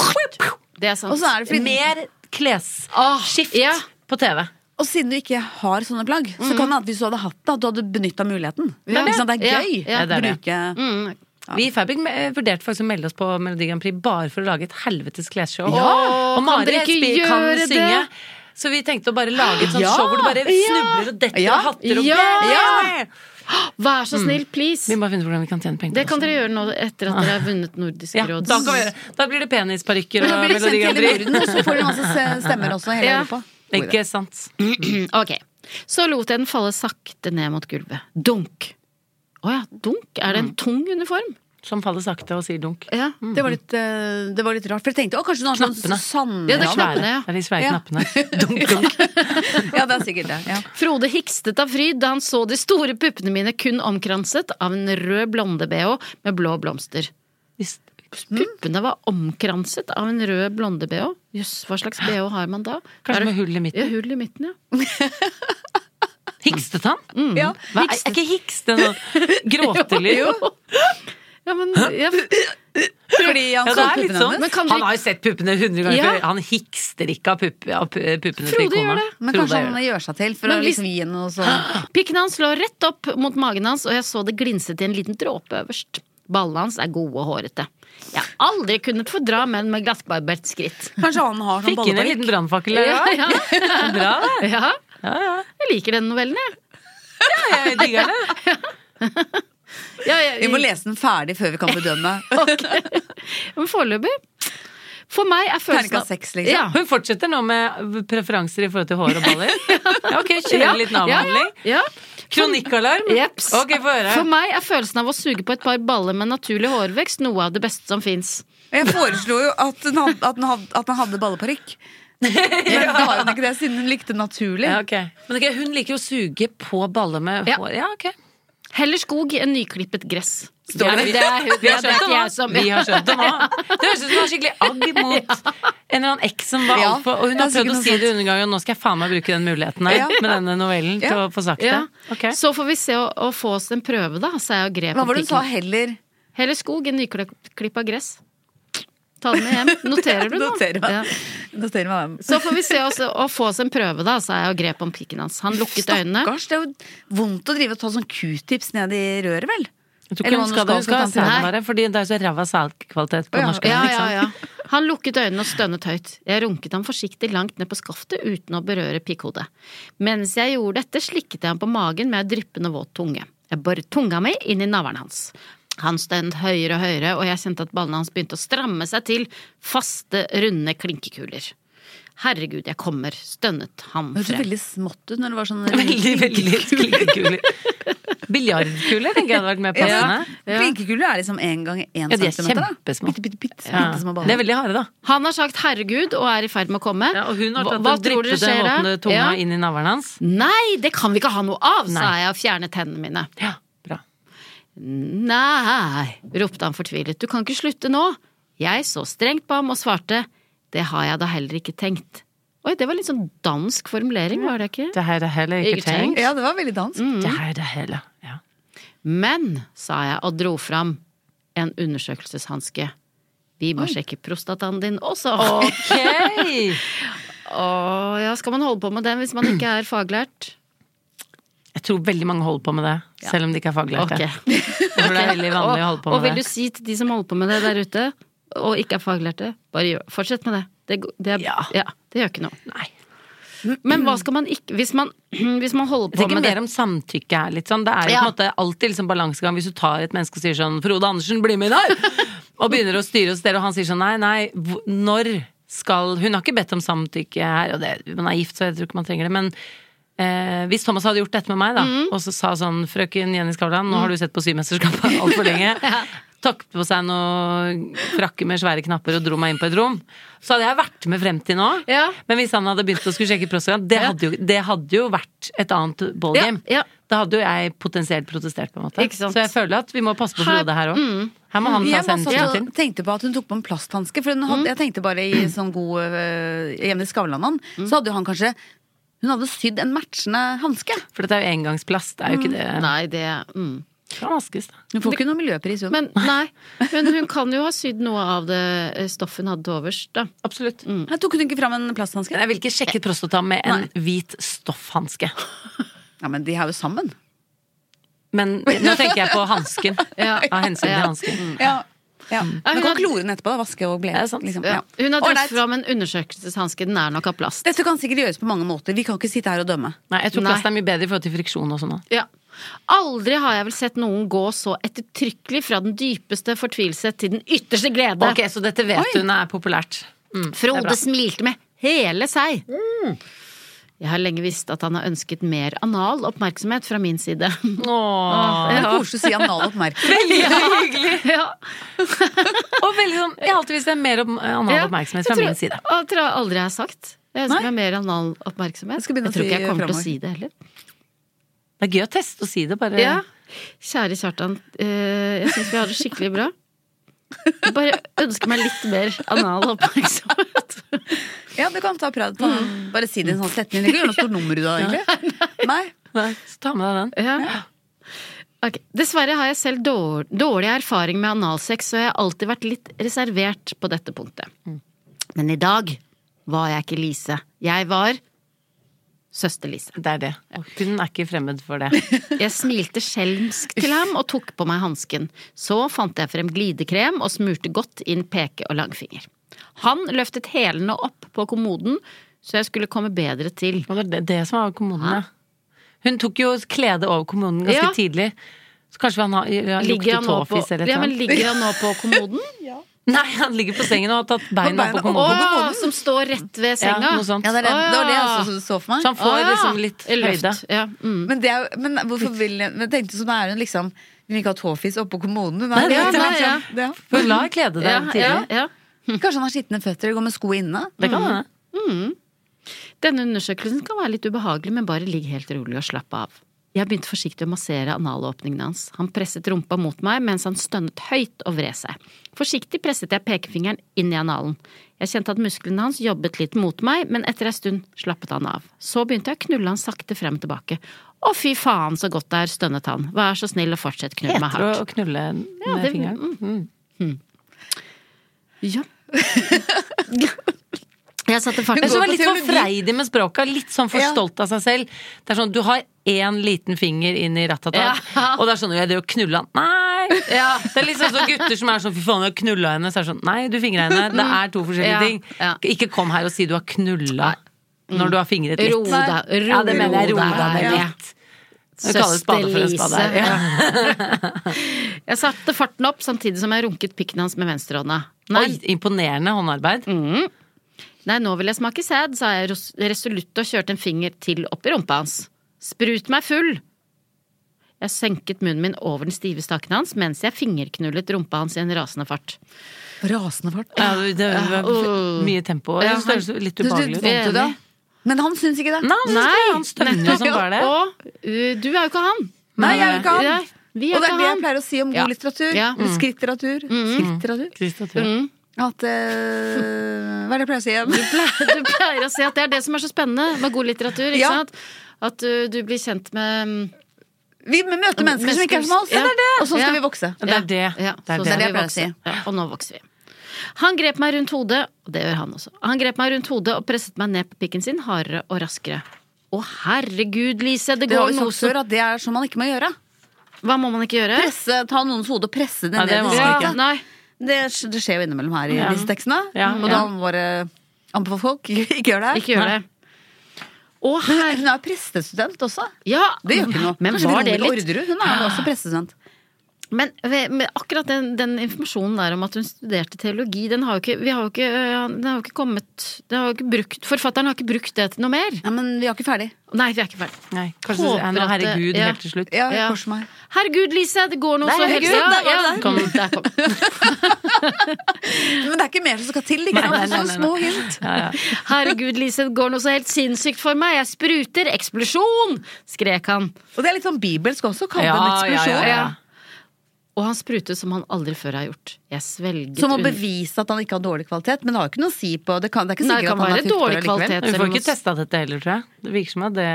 Speaker 4: Witch
Speaker 1: det er sant.
Speaker 2: Og, så er det fordi,
Speaker 4: Mer klesskift
Speaker 1: Åh, Ah, ja.
Speaker 4: på TV.
Speaker 2: og siden du ikke har sånne plagg,
Speaker 4: Mm.
Speaker 2: så kan det at hvis du hadde hatt det, at du hadde benytta muligheten.
Speaker 1: Ja.
Speaker 2: Ikke sant? Det
Speaker 1: Ja.
Speaker 2: er gøy
Speaker 1: Ja,
Speaker 4: det er
Speaker 2: å
Speaker 4: det.
Speaker 2: bruke
Speaker 1: Mm.
Speaker 4: Vi i Fabrik eh, vurderte faktisk å melde oss på Melodi Grand Prix bare for å lage et helvetes klesshow.
Speaker 1: Ja!
Speaker 4: og
Speaker 1: Kan
Speaker 4: Mari
Speaker 1: dere ikke
Speaker 4: Espie kan
Speaker 1: gjøre det?
Speaker 4: synge. Så vi tenkte å bare lage et sånt
Speaker 2: Ja!
Speaker 4: show hvor du bare snubler og detter
Speaker 2: Ja!
Speaker 4: og hatter og
Speaker 1: Ja!
Speaker 4: Ja!
Speaker 1: Vær så snill, please!
Speaker 4: Mm. Vi må bare finne ut hvordan vi kan tjene penger.
Speaker 1: Det
Speaker 4: på
Speaker 1: kan dere gjøre nå etter at dere har vunnet Nordisk
Speaker 4: Ja,
Speaker 1: råd.
Speaker 4: da, kan vi gjøre. det. da blir det penisparykker
Speaker 2: Men
Speaker 4: og
Speaker 2: da blir det
Speaker 4: Melodi
Speaker 2: sendt
Speaker 4: Grand
Speaker 2: hele
Speaker 4: Prix.
Speaker 2: Norden, og så får de masse se- stemmer også, hele
Speaker 1: Ja.
Speaker 2: Europa. God idé.
Speaker 4: Ikke sant.
Speaker 1: Ok. Så lot jeg den falle sakte ned mot gulvet. Dunk! Å ja, dunk? Er
Speaker 4: Mm.
Speaker 1: det en tung uniform? Mm.
Speaker 4: Som faller sakte og sier dunk.
Speaker 1: Ja.
Speaker 2: Det var, litt, eh, det var litt rart, for jeg tenkte å, kanskje den har sånn
Speaker 4: Knappene.
Speaker 2: sand...
Speaker 1: Ja, det er
Speaker 4: Svære.
Speaker 1: knappene, ja.
Speaker 4: Det er de svære
Speaker 2: Ja.
Speaker 4: knappene. Dunk, dunk.
Speaker 2: Ja, det er sikkert det. Ja.
Speaker 1: Frode hikstet av fryd da han så de store puppene mine kun omkranset av en rød blonde-bh med blå blomster.
Speaker 4: Hvis-
Speaker 1: Puppene var omkranset av en rød blonde-bh. Jøss, hva slags bh har man da? Er
Speaker 4: Kanskje
Speaker 1: det-
Speaker 4: med hull i midten.
Speaker 1: Ja, hull i midten, ja.
Speaker 4: Hikstet han?
Speaker 1: Mm.
Speaker 2: Ja.
Speaker 4: Mm. Hva, er er ikke hikste noe gråtelyd?
Speaker 1: ja men, ja.
Speaker 2: Fordi han
Speaker 4: Ja,
Speaker 2: så
Speaker 4: det er litt
Speaker 2: puppene
Speaker 4: sånn.
Speaker 2: hennes.
Speaker 1: Men kan
Speaker 4: han
Speaker 1: dere-
Speaker 4: har jo sett puppene hundre ganger
Speaker 1: Ja.
Speaker 4: før. Han hikster ikke av, pupp, av pu- puppene til
Speaker 1: Frode gjør
Speaker 4: kona.
Speaker 1: det.
Speaker 2: Men
Speaker 4: Frode
Speaker 2: kanskje
Speaker 4: gjør
Speaker 2: han
Speaker 4: det.
Speaker 2: gjør seg til for
Speaker 1: Men
Speaker 2: å
Speaker 1: hvis-
Speaker 2: liksom gi henne noe sånn
Speaker 1: Pikken hans lå rett opp mot magen hans, og jeg så det glinset i en liten dråpe øverst. Ballene hans er gode og hårete. Jeg har aldri kunnet fordra menn med glattbarbert skritt.
Speaker 2: Kanskje han har sånn
Speaker 4: Fikk inn en
Speaker 2: bolleparykk?
Speaker 4: liten brannfakkel der
Speaker 1: Ja,
Speaker 4: òg.
Speaker 1: ja.
Speaker 4: Bra, det.
Speaker 1: Ja,
Speaker 4: Ja, ja.
Speaker 1: jeg liker denne novellen, jeg.
Speaker 4: Jeg digger det.
Speaker 1: Ja, jeg-
Speaker 2: Vi må lese den ferdig før vi kan bedømme.
Speaker 1: Ok. Men foreløpig For meg er følelsen
Speaker 2: Terningkast seks, liksom.
Speaker 1: Ja.
Speaker 4: Hun fortsetter nå med preferanser i forhold til hår og baller. Ja, Ok, kjører en liten
Speaker 1: ja, ja,
Speaker 4: avhandling.
Speaker 1: ja.
Speaker 4: Kronikkalarm.
Speaker 1: Jeps.
Speaker 4: Ok, få høre.
Speaker 1: For meg er følelsen av å suge på et par baller med naturlig hårvekst noe av det beste som fins.
Speaker 2: Jeg foreslo jo at han hadde, at den hadde, at den hadde balleparykk. Men det har hun ikke det, siden hun likte naturlig.
Speaker 4: Ja, ok. Men ok, hun liker jo å suge på baller med
Speaker 1: Ja.
Speaker 4: hår. Ja, ok.
Speaker 1: Heller skog enn nyklippet gress.
Speaker 4: Står det?
Speaker 1: det, er, det, er,
Speaker 4: Vi har
Speaker 1: det er
Speaker 4: skjønt
Speaker 1: ikke
Speaker 4: det
Speaker 1: jeg
Speaker 4: nå.
Speaker 1: som
Speaker 4: Vi har skjønt det nå. Det høres ut som hun har skikkelig agg mot en eller annen eks som var
Speaker 2: Ja,
Speaker 4: altfor Og hun har
Speaker 2: det er
Speaker 4: prøvd å
Speaker 2: sikkert
Speaker 4: si
Speaker 2: noe
Speaker 4: det hundre ganger, og nå skal jeg faen meg bruke den muligheten her
Speaker 2: Ja.
Speaker 4: med denne novellen til
Speaker 2: Ja.
Speaker 4: å få sagt det.
Speaker 1: Ja.
Speaker 4: Ok.
Speaker 1: Så får vi se å, å få oss en prøve, da, sa jeg og grep
Speaker 2: Hva var det
Speaker 1: om
Speaker 2: hun sa?
Speaker 1: pikken.
Speaker 2: Heller
Speaker 1: Heller skog enn nyklippa gress. Ta den med hjem. Noterer du nå?
Speaker 2: Noterer meg.
Speaker 1: Ja.
Speaker 2: Noterer meg hvem.
Speaker 1: Så får vi se oss, å få oss en prøve, da, sa jeg og grep om pikken hans. Han lukket øynene.
Speaker 2: Stakkars, det er jo vondt å drive og ta sånn q-tips ned i røret, vel?
Speaker 4: Jeg tror
Speaker 2: Eller
Speaker 4: ikke hun
Speaker 2: hva
Speaker 4: skal det, hun skal ha
Speaker 2: skal til tannlegen.
Speaker 4: sædvare, fordi det er så ræva sædkvalitet på
Speaker 2: Å, ja.
Speaker 4: norsk.
Speaker 1: Ja, ja, ja. Han lukket øynene og stønnet høyt. Jeg runket ham forsiktig langt ned på skaftet uten å berøre pikkhodet. Mens jeg gjorde dette, slikket jeg ham på magen med en dryppende våt tunge. Jeg boret tunga mi inn i navlen hans. Han stønnet høyere og høyere, og jeg kjente at ballene hans begynte å stramme seg til, faste, runde klinkekuler. Herregud, jeg kommer, stønnet han
Speaker 2: Det hørtes
Speaker 1: frem.
Speaker 2: veldig smått ut når det var sånn
Speaker 4: Veldig, veldig klinkekuler. Biljardkuler tenker jeg hadde vært mer
Speaker 2: Ja.
Speaker 4: passende.
Speaker 2: Klinkekuler er liksom én gang én
Speaker 4: Ja, de er
Speaker 2: centimeter. da.
Speaker 4: kjempesmå.
Speaker 2: Bitte, bitte, bitte,
Speaker 4: Ja.
Speaker 2: bittesmå baller.
Speaker 4: Det er veldig harde, da.
Speaker 1: Han har sagt herregud og er i ferd med å komme.
Speaker 4: Ja, og hun har
Speaker 1: Hva-
Speaker 4: tatt
Speaker 1: hva
Speaker 4: den
Speaker 1: tror dere
Speaker 4: dryppete,
Speaker 1: skjer da?
Speaker 4: våtne tunga
Speaker 1: Ja.
Speaker 4: inn i navlen hans.
Speaker 1: Nei, det kan vi ikke ha noe av, sa
Speaker 4: Nei.
Speaker 1: jeg og fjernet hendene mine.
Speaker 4: Ja, bra.
Speaker 1: Nei, ropte han fortvilet, du kan ikke slutte nå. Jeg så strengt på ham og svarte, det har jeg da heller ikke tenkt. Oi, det var litt sånn dansk formulering, var det ikke?
Speaker 4: Det her er heller
Speaker 1: Ikke
Speaker 4: ikke
Speaker 1: tenkt.
Speaker 4: tenkt. Mm.
Speaker 2: Ja, det var veldig dansk.
Speaker 4: Det her er heller. Ja.
Speaker 1: Men, sa jeg og dro fram en undersøkelseshanske. Vi må sjekke prostataen din også.
Speaker 4: Ok!
Speaker 1: Åh, ja, skal man holde på med den hvis man ikke er faglært?
Speaker 4: Jeg tror veldig mange holder på med det, selv om de ikke er faglærte.
Speaker 1: Ok.
Speaker 4: Jeg tror det er veldig vanlig å holde på
Speaker 1: og, og
Speaker 4: med
Speaker 1: vil du
Speaker 4: det.
Speaker 1: si til de som holder på med det der ute, og ikke er faglærte, bare gjør, fortsett med det. Det, går- det, er-
Speaker 4: Ja.
Speaker 1: ja, det gjør ikke noe.
Speaker 4: Nei.
Speaker 1: Men hva skal man ikke Hvis man, hvis man holder
Speaker 4: Jeg
Speaker 1: på
Speaker 4: tenker
Speaker 1: med det
Speaker 4: mer om samtykke her. litt sånn. Det er jo
Speaker 1: Ja.
Speaker 4: på en måte alltid liksom balansegang hvis du tar et menneske og sier sånn 'Frode Andersen, bli med i dag!' og begynner å styre og stelle, og han sier sånn 'nei, nei, hvor- når skal Hun har ikke bedt om samtykke her, og det, man er gift, så jeg tror ikke man trenger det, men Eh, hvis Thomas hadde gjort dette med meg, da,
Speaker 1: Mm.
Speaker 4: og så sa sånn 'Frøken Jenny Skavlan, nå har du sett på Symesterskapet altfor lenge.' Tok på seg noen frakker med svære knapper og dro meg inn på et rom. Så hadde jeg vært med frem til nå.
Speaker 1: Ja.
Speaker 4: Men hvis han hadde begynt å skulle sjekke prostata, det, hadde jo- det hadde jo vært et annet ballgame.
Speaker 1: Ja, ja.
Speaker 4: Da hadde jo jeg potensielt protestert, på en måte.
Speaker 1: Ikke sant. mm.
Speaker 4: Så jeg føler at vi må passe på Frode her òg. Her må han ta
Speaker 2: Jeg
Speaker 4: seg en
Speaker 2: bare
Speaker 4: tur
Speaker 2: satt
Speaker 4: til. Mm.
Speaker 2: og tenkte på at hun tok på en plasthanske. For hun hadde, jeg tenkte bare i sånn god øh, Hjemme i Skavlan-ånd,
Speaker 4: Mm.
Speaker 2: så hadde jo han kanskje Hun hadde sydd en matchende hanske.
Speaker 4: For dette er jo engangsplast, det er jo ikke det.
Speaker 1: Nei, det mm.
Speaker 4: Det kan vaskes, da.
Speaker 2: Hun får ikke noe miljøpris, hun.
Speaker 1: Men nei, men hun kan jo ha sydd noe av det eh, stoffet hun hadde til overs, da.
Speaker 4: Absolutt.
Speaker 2: Her tok hun ikke fram en plasthanske?
Speaker 4: Men Mm. jeg vil ikke sjekke prostata med en hvit stoffhanske.
Speaker 2: Ja, men de er jo sammen.
Speaker 4: Men nå tenker jeg på hansken.
Speaker 1: Ja.
Speaker 4: Av hensyn til
Speaker 1: Ja.
Speaker 4: hansken.
Speaker 2: Ja. Ja.
Speaker 1: Ja,
Speaker 2: Du
Speaker 1: hun
Speaker 2: kan
Speaker 1: hadde-
Speaker 2: klore den etterpå. da, Vaske og ble.
Speaker 4: Mm. Ja, sant.
Speaker 2: Liksom.
Speaker 1: Ja.
Speaker 2: Ja.
Speaker 1: Hun har dratt
Speaker 2: Ålreit.
Speaker 1: fram en undersøkelseshanske, den er nok av plast.
Speaker 2: Dette kan sikkert gjøres på mange måter. Vi kan ikke sitte her og dømme.
Speaker 4: Nei, jeg tror
Speaker 1: Nei.
Speaker 4: plast er mye bedre i forhold til friksjon og sånn. da.
Speaker 1: Ja. Aldri har jeg vel sett noen gå så ettertrykkelig fra den dypeste fortvilelse til den ytterste glede.
Speaker 4: Ok, så dette vet hun er populært. Mm, det er bra. Mm.
Speaker 1: Frode smilte med hele seg. Jeg har lenge visst at han har ønsket mer anal oppmerksomhet fra min side.
Speaker 4: Åh.
Speaker 2: Det er koselig å si anal oppmerksomhet.
Speaker 1: ja.
Speaker 4: Og veldig sånn, Jeg har alltid visst det er mer om, annen
Speaker 1: Ja. Jeg
Speaker 4: oppmerksomhet fra
Speaker 1: tror-
Speaker 4: min side.
Speaker 1: Jeg tror jeg aldri jeg har sagt. Jeg ønsker
Speaker 2: Nei.
Speaker 1: meg mer anal oppmerksomhet.
Speaker 2: Jeg skal begynne å
Speaker 1: tror
Speaker 2: si
Speaker 1: ikke jeg kommer til å
Speaker 2: fremover.
Speaker 1: si det heller.
Speaker 4: Det er gøy å teste og si det, bare.
Speaker 1: Ja. Kjære Kjartan, eh, jeg syns vi har det skikkelig bra. Jeg bare ønsker meg litt mer anal oppmerksomhet.
Speaker 2: Ja, du kan ta prat. Ta,
Speaker 1: Mm.
Speaker 2: bare si det i en sånn setning. Du kan gjøre noe stort nummer ut av det, egentlig. Nei.
Speaker 4: Nei, Så ta med deg den.
Speaker 1: Ja. Ok. Dessverre har jeg selv dår- dårlig erfaring med analsex, så jeg har alltid vært litt reservert på dette punktet.
Speaker 4: Mm.
Speaker 1: Men i dag var jeg ikke Lise. Jeg var søster Lise.
Speaker 4: Det er det. Og hun er ikke fremmed for det.
Speaker 1: Jeg smilte skjelmsk til ham og tok på meg hansken. Så fant jeg frem glidekrem og smurte godt inn peke og langfinger. Han løftet hælene opp på kommoden, så jeg skulle komme bedre til.
Speaker 4: Og det er det, det som er kommunen, ja. Hun tok jo kledet over kommunen ganske
Speaker 1: Ja.
Speaker 4: tidlig. Så kanskje han har ja,
Speaker 1: Ligger
Speaker 4: lukter
Speaker 1: han nå på,
Speaker 4: tåfis eller et
Speaker 1: ja,
Speaker 4: eller
Speaker 1: men
Speaker 4: annet.
Speaker 1: ligger han nå på kommoden?
Speaker 4: Nei, han ligger på sengen og har tatt beina
Speaker 2: beina
Speaker 4: opp på
Speaker 1: Å
Speaker 2: opp.
Speaker 4: kommoden.
Speaker 1: ja, som står rett ved senga.
Speaker 4: Ja, noe sånt.
Speaker 2: Ja, det, er det. det var det
Speaker 1: Å,
Speaker 2: jeg
Speaker 1: ja. Sånn
Speaker 2: også så for meg.
Speaker 4: Så han får
Speaker 1: Å, ja.
Speaker 4: liksom litt
Speaker 1: I løft,
Speaker 4: høyde.
Speaker 1: Ja. Mm.
Speaker 2: Men, det er, jo- men hvorfor vil men tenkte sånn er hun liksom Hun vil ikke ha tåfis oppå kommunen. Hun
Speaker 1: Nei,
Speaker 2: er, det er
Speaker 1: nei, ja.
Speaker 2: liksom- det-
Speaker 4: For hun la klede
Speaker 1: Ja,
Speaker 4: der
Speaker 1: ja,
Speaker 4: tidlig.
Speaker 1: ja.
Speaker 2: Kanskje han har skitne føtter og går med sko inne.
Speaker 4: Det kan hende.
Speaker 1: Denne undersøkelsen kan være litt ubehagelig, men bare ligg helt rolig og slapp av. Jeg begynte forsiktig å massere analåpningene hans. Han presset rumpa mot meg mens han stønnet høyt og vred seg. Forsiktig presset jeg pekefingeren inn i analen. Jeg kjente at musklene hans jobbet litt mot meg, men etter ei stund slappet han av. Så begynte jeg å knulle han sakte frem og tilbake. Å, fy faen så godt det er, stønnet han. Vær så snill og fortsett, knull meg
Speaker 4: Heter det å
Speaker 1: hardt.
Speaker 4: knulle med
Speaker 1: det-
Speaker 4: fingeren?
Speaker 1: Ja. Jeg satte faktisk
Speaker 4: Men så
Speaker 2: går
Speaker 4: var
Speaker 2: på
Speaker 4: litt sånn
Speaker 2: teologi.
Speaker 4: freidig med språket, litt sånn for
Speaker 2: Ja.
Speaker 4: stolt av seg selv. Det er sånn, Du har én liten finger inn i rattatat,
Speaker 1: Ja.
Speaker 4: og det er sånn Jeg drev og knulla han. Nei!
Speaker 1: Ja.
Speaker 4: Det er litt sånn som gutter som er sånn Fy faen, jeg knulla henne. Så er det sånn Nei, du fingra henne. Det er to
Speaker 1: Ja,
Speaker 4: forskjellige ting.
Speaker 1: ja.
Speaker 4: Ikke kom her og si du har knulla når du har fingret litt.
Speaker 1: Ro deg- ro
Speaker 4: ja, det mener jeg. Ro deg
Speaker 1: deg.
Speaker 4: ned
Speaker 1: Ja.
Speaker 4: litt. Det kalles spade for en spade.
Speaker 1: Søster Lise.
Speaker 4: Ja.
Speaker 1: Jeg satte farten opp samtidig som jeg runket pikken hans med venstrehånda. Nei,
Speaker 4: Oi, imponerende håndarbeid.
Speaker 1: nei, nå vil jeg smake sæd, sa jeg ros- resolutt og kjørte en finger til opp i rumpa hans. Sprut meg full! Jeg senket munnen min over den stive staken hans mens jeg fingerknullet rumpa hans i en rasende fart.
Speaker 2: Rasende fart.
Speaker 4: Ja, det var mye tempo.
Speaker 1: Ja,
Speaker 4: Jeg synes det høres litt
Speaker 2: Du- du-
Speaker 4: ubehagelig ut.
Speaker 2: vant du det? Men han syns ikke det.
Speaker 4: Nei, han synes ikke det. han stønner som bare det.
Speaker 1: Og uh, du er jo ikke han!
Speaker 2: Nei, jeg er jo ikke han.
Speaker 1: Nei, vi er ikke
Speaker 2: og det er det jeg
Speaker 1: han.
Speaker 2: pleier å si om
Speaker 1: Ja.
Speaker 2: god litteratur.
Speaker 1: Ja. Mm.
Speaker 2: eller Skritteratur. Skritteratur.
Speaker 4: Kristatur.
Speaker 2: At eh, Hva er det jeg pleier å si igjen?
Speaker 1: Du pleier å si at det er det som er så spennende med god litteratur. Ikke
Speaker 2: Ja.
Speaker 1: sant? At uh, du blir kjent med mm,
Speaker 2: Vi møter mennesker som ikke er som oss,
Speaker 1: Ja.
Speaker 2: og så skal
Speaker 1: Ja.
Speaker 2: vi vokse.
Speaker 4: Det er det.
Speaker 1: Ja,
Speaker 4: Det er
Speaker 1: så skal
Speaker 4: det.
Speaker 2: Det
Speaker 1: vi
Speaker 2: er det jeg pleier å
Speaker 1: vokse. Ja, og nå vokser vi. Han grep meg rundt hodet, og det gjør han også. Han grep meg rundt hodet og presset meg ned på pikken sin hardere og raskere. Å herregud, Lise, det,
Speaker 2: Det har
Speaker 1: går
Speaker 2: vi
Speaker 1: noe
Speaker 2: sagt
Speaker 1: som
Speaker 2: før at det er sånn man ikke må gjøre.
Speaker 1: Hva må man ikke gjøre?
Speaker 2: Presse, ta noens hode og presse det
Speaker 4: Ja,
Speaker 2: ned.
Speaker 4: det
Speaker 2: i
Speaker 4: må man
Speaker 2: skrittet.
Speaker 1: Ja, nei.
Speaker 2: Det, det skjer jo innimellom her i
Speaker 4: Ja.
Speaker 2: disse tekstene.
Speaker 4: Ja,
Speaker 2: og da
Speaker 4: ja.
Speaker 2: må man bare anbefale folk ikke, ikke gjør det. her.
Speaker 1: Ikke gjør det. Å
Speaker 2: Men
Speaker 1: herregud.
Speaker 2: Hun er jo prestestudent også.
Speaker 1: Ja,
Speaker 2: Det gjør ikke noe.
Speaker 1: Men
Speaker 2: Kanskje
Speaker 1: var
Speaker 2: vi
Speaker 1: det
Speaker 2: kommer
Speaker 1: litt
Speaker 2: til Orderud. Hun er jo
Speaker 4: Ah.
Speaker 2: også prestestudent.
Speaker 1: Men ved- med akkurat den, den informasjonen der om at hun studerte teologi, den har jo ikke, vi har jo ikke, øh, den har jo ikke kommet den har jo ikke brukt, Forfatteren har ikke brukt det til noe mer.
Speaker 2: Ja, men vi er ikke ferdig.
Speaker 1: Nei, vi er ikke ferdig.
Speaker 4: Nei, kanskje
Speaker 1: Håper
Speaker 4: ja, nå,
Speaker 1: at det-
Speaker 4: herregud
Speaker 1: ja.
Speaker 4: helt til slutt.
Speaker 2: Ja,
Speaker 1: Ja.
Speaker 2: kors meg.
Speaker 1: Herregud, Lise, det går noe
Speaker 2: Nei,
Speaker 1: så helst.
Speaker 2: herregud, der var det der.
Speaker 1: kom, der kom.
Speaker 2: Men det er ikke mer som skal til. Ikke
Speaker 4: Nei, nei,
Speaker 2: sant?
Speaker 4: nei,
Speaker 2: Sånne
Speaker 4: nei,
Speaker 2: små
Speaker 4: nei.
Speaker 2: hint.
Speaker 4: Ja, ja.
Speaker 1: Herregud, Lise, det går noe så helt sinnssykt for meg. Jeg spruter! Eksplosjon! skrek han.
Speaker 2: Og det er litt sånn bibelsk også. Kall det
Speaker 4: Ja,
Speaker 2: en
Speaker 4: ja,
Speaker 2: ekspedisjon.
Speaker 4: ja, ja.
Speaker 1: Og han sprutet som han aldri før har gjort. Jeg svelget
Speaker 2: Som å
Speaker 1: under-
Speaker 2: bevise at han ikke har dårlig kvalitet. Men det har jo ikke noe å si på Det, kan, det er ikke
Speaker 1: Nei,
Speaker 2: sikkert
Speaker 1: det kan
Speaker 2: at han
Speaker 1: være
Speaker 2: er tykk på
Speaker 1: dårlig
Speaker 2: det likevel.
Speaker 1: kvalitet.
Speaker 4: Vi
Speaker 1: Selv
Speaker 4: får
Speaker 1: om
Speaker 4: ikke
Speaker 1: man-
Speaker 4: testa dette heller, tror jeg. Det virker som at det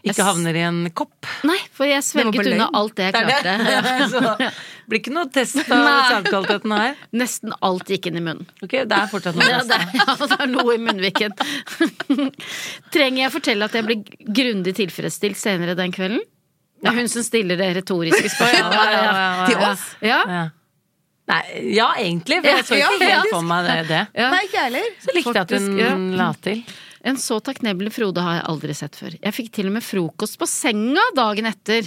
Speaker 1: Jeg s-
Speaker 4: ikke havner i en kopp.
Speaker 1: Nei, for jeg
Speaker 2: Det var
Speaker 1: svelget
Speaker 2: bare
Speaker 1: unna
Speaker 2: løgn.
Speaker 1: alt det jeg klarte.
Speaker 4: Så det blir ikke noe test av
Speaker 1: Nei.
Speaker 4: sædkvaliteten her.
Speaker 1: Nesten alt gikk inn i munnen.
Speaker 4: Ok, Det er fortsatt noe
Speaker 1: Ja,
Speaker 4: test.
Speaker 1: det, er- ja, det er noe i munnviken. Trenger jeg fortelle at jeg ble grundig tilfredsstilt senere den kvelden? Det er hun som stiller det retoriske spørsmålet.
Speaker 4: Ja, ja, ja, ja.
Speaker 2: Til oss?
Speaker 1: Ja.
Speaker 4: Ja. Nei, ja, egentlig. For jeg så
Speaker 2: Ja,
Speaker 4: ikke
Speaker 2: ja,
Speaker 4: helt for meg det. det.
Speaker 1: Ja.
Speaker 2: Nei, ikke jeg heller.
Speaker 4: Så likte jeg at
Speaker 1: Faktisk, ja.
Speaker 4: hun la til.
Speaker 1: En så takknemlig Frode har jeg aldri sett før. Jeg fikk til og med frokost på senga dagen etter.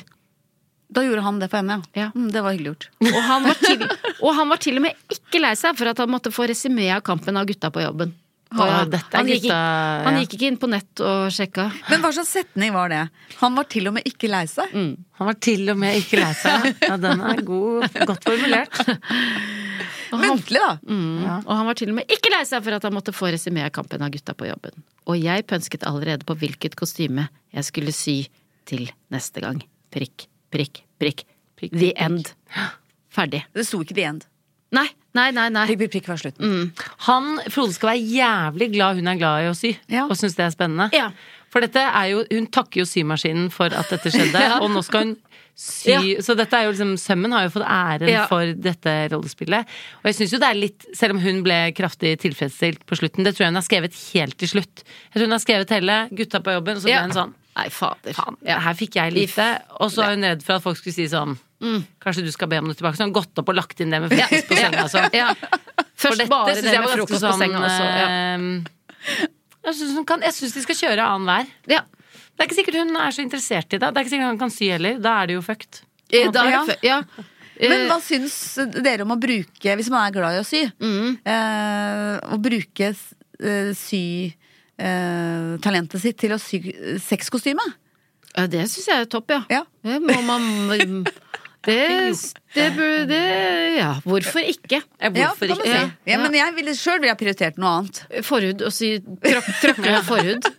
Speaker 2: Da gjorde han det for henne, ja.
Speaker 1: Ja.
Speaker 2: Mm, det var hyggelig gjort.
Speaker 1: Og han var til, og, han var til og med ikke lei seg for at han måtte få resymé av kampen av gutta på jobben.
Speaker 4: Ja, dette er
Speaker 1: han, gikk,
Speaker 4: gutta,
Speaker 1: ikke- han
Speaker 4: ja.
Speaker 1: gikk ikke inn på nett og sjekka.
Speaker 2: Men hva slags setning var det? Han var til og med ikke lei seg.
Speaker 4: Han var til og med ikke lei seg. Ja, den er god, godt formulert.
Speaker 2: Muntlig, da.
Speaker 4: Mm.
Speaker 1: Og han var til og med ikke lei seg for at han måtte få resymé av kampen av gutta på jobben. Og jeg pønsket allerede på hvilket kostyme jeg skulle sy til neste gang. Prikk, prikk, prikk. The end. Ferdig.
Speaker 2: Det sto ikke the end.
Speaker 1: Nei, nei, nei. nei.
Speaker 2: Prikk, prikk, prikk var slutten.
Speaker 4: Han, Frode skal være jævlig glad hun er glad i å sy,
Speaker 2: Ja.
Speaker 4: og syns det er spennende.
Speaker 1: Ja.
Speaker 4: For dette er jo, hun takker jo symaskinen for at dette skjedde, og nå skal hun sy
Speaker 1: Ja.
Speaker 4: Så dette er jo liksom, sømmen har jo fått æren
Speaker 1: Ja.
Speaker 4: for dette rollespillet. Og jeg syns jo det er litt, selv om hun ble kraftig tilfredsstilt på slutten, det tror jeg hun har skrevet helt til slutt. Jeg tror hun har skrevet hele gutta på jobben, og så ble
Speaker 1: Ja.
Speaker 4: hun sånn
Speaker 1: Nei, fader.
Speaker 4: faen,
Speaker 1: Ja.
Speaker 4: her fikk jeg lite. Og så er hun redd for at folk skulle si sånn
Speaker 1: Mm.
Speaker 4: Kanskje du skal be om det tilbake. Så hun har gått opp og lagt inn det med frokost på senga. Altså.
Speaker 1: Ja.
Speaker 4: For
Speaker 1: Først
Speaker 4: dette
Speaker 1: bare
Speaker 4: synes
Speaker 1: det
Speaker 4: jeg
Speaker 1: med
Speaker 4: var ganske
Speaker 1: frokost på
Speaker 4: sånn,
Speaker 1: senga også. Ja.
Speaker 4: eh, Jeg syns hun kan- jeg synes de skal kjøre annenhver.
Speaker 1: Ja.
Speaker 4: Det er ikke sikkert hun er så interessert i det. Det er ikke sikkert han kan sy heller. Da er det jo fucked.
Speaker 1: Eh, Da er det fø- ja. Eh,
Speaker 2: Men hva syns dere om å bruke, hvis man er glad i å sy, eh, å bruke eh, sy eh, talentet sitt til å sy eh, sexkostyme?
Speaker 1: Ja, det syns jeg er topp, ja.
Speaker 2: Ja.
Speaker 1: Det må man Det, det burde det- Ja, hvorfor ikke?
Speaker 2: ja, kan man si.
Speaker 1: Ja,
Speaker 2: Ja, Men jeg ville sjøl ville jeg prioritert noe annet.
Speaker 1: Forhud og sy tråk- Tråkle forhud.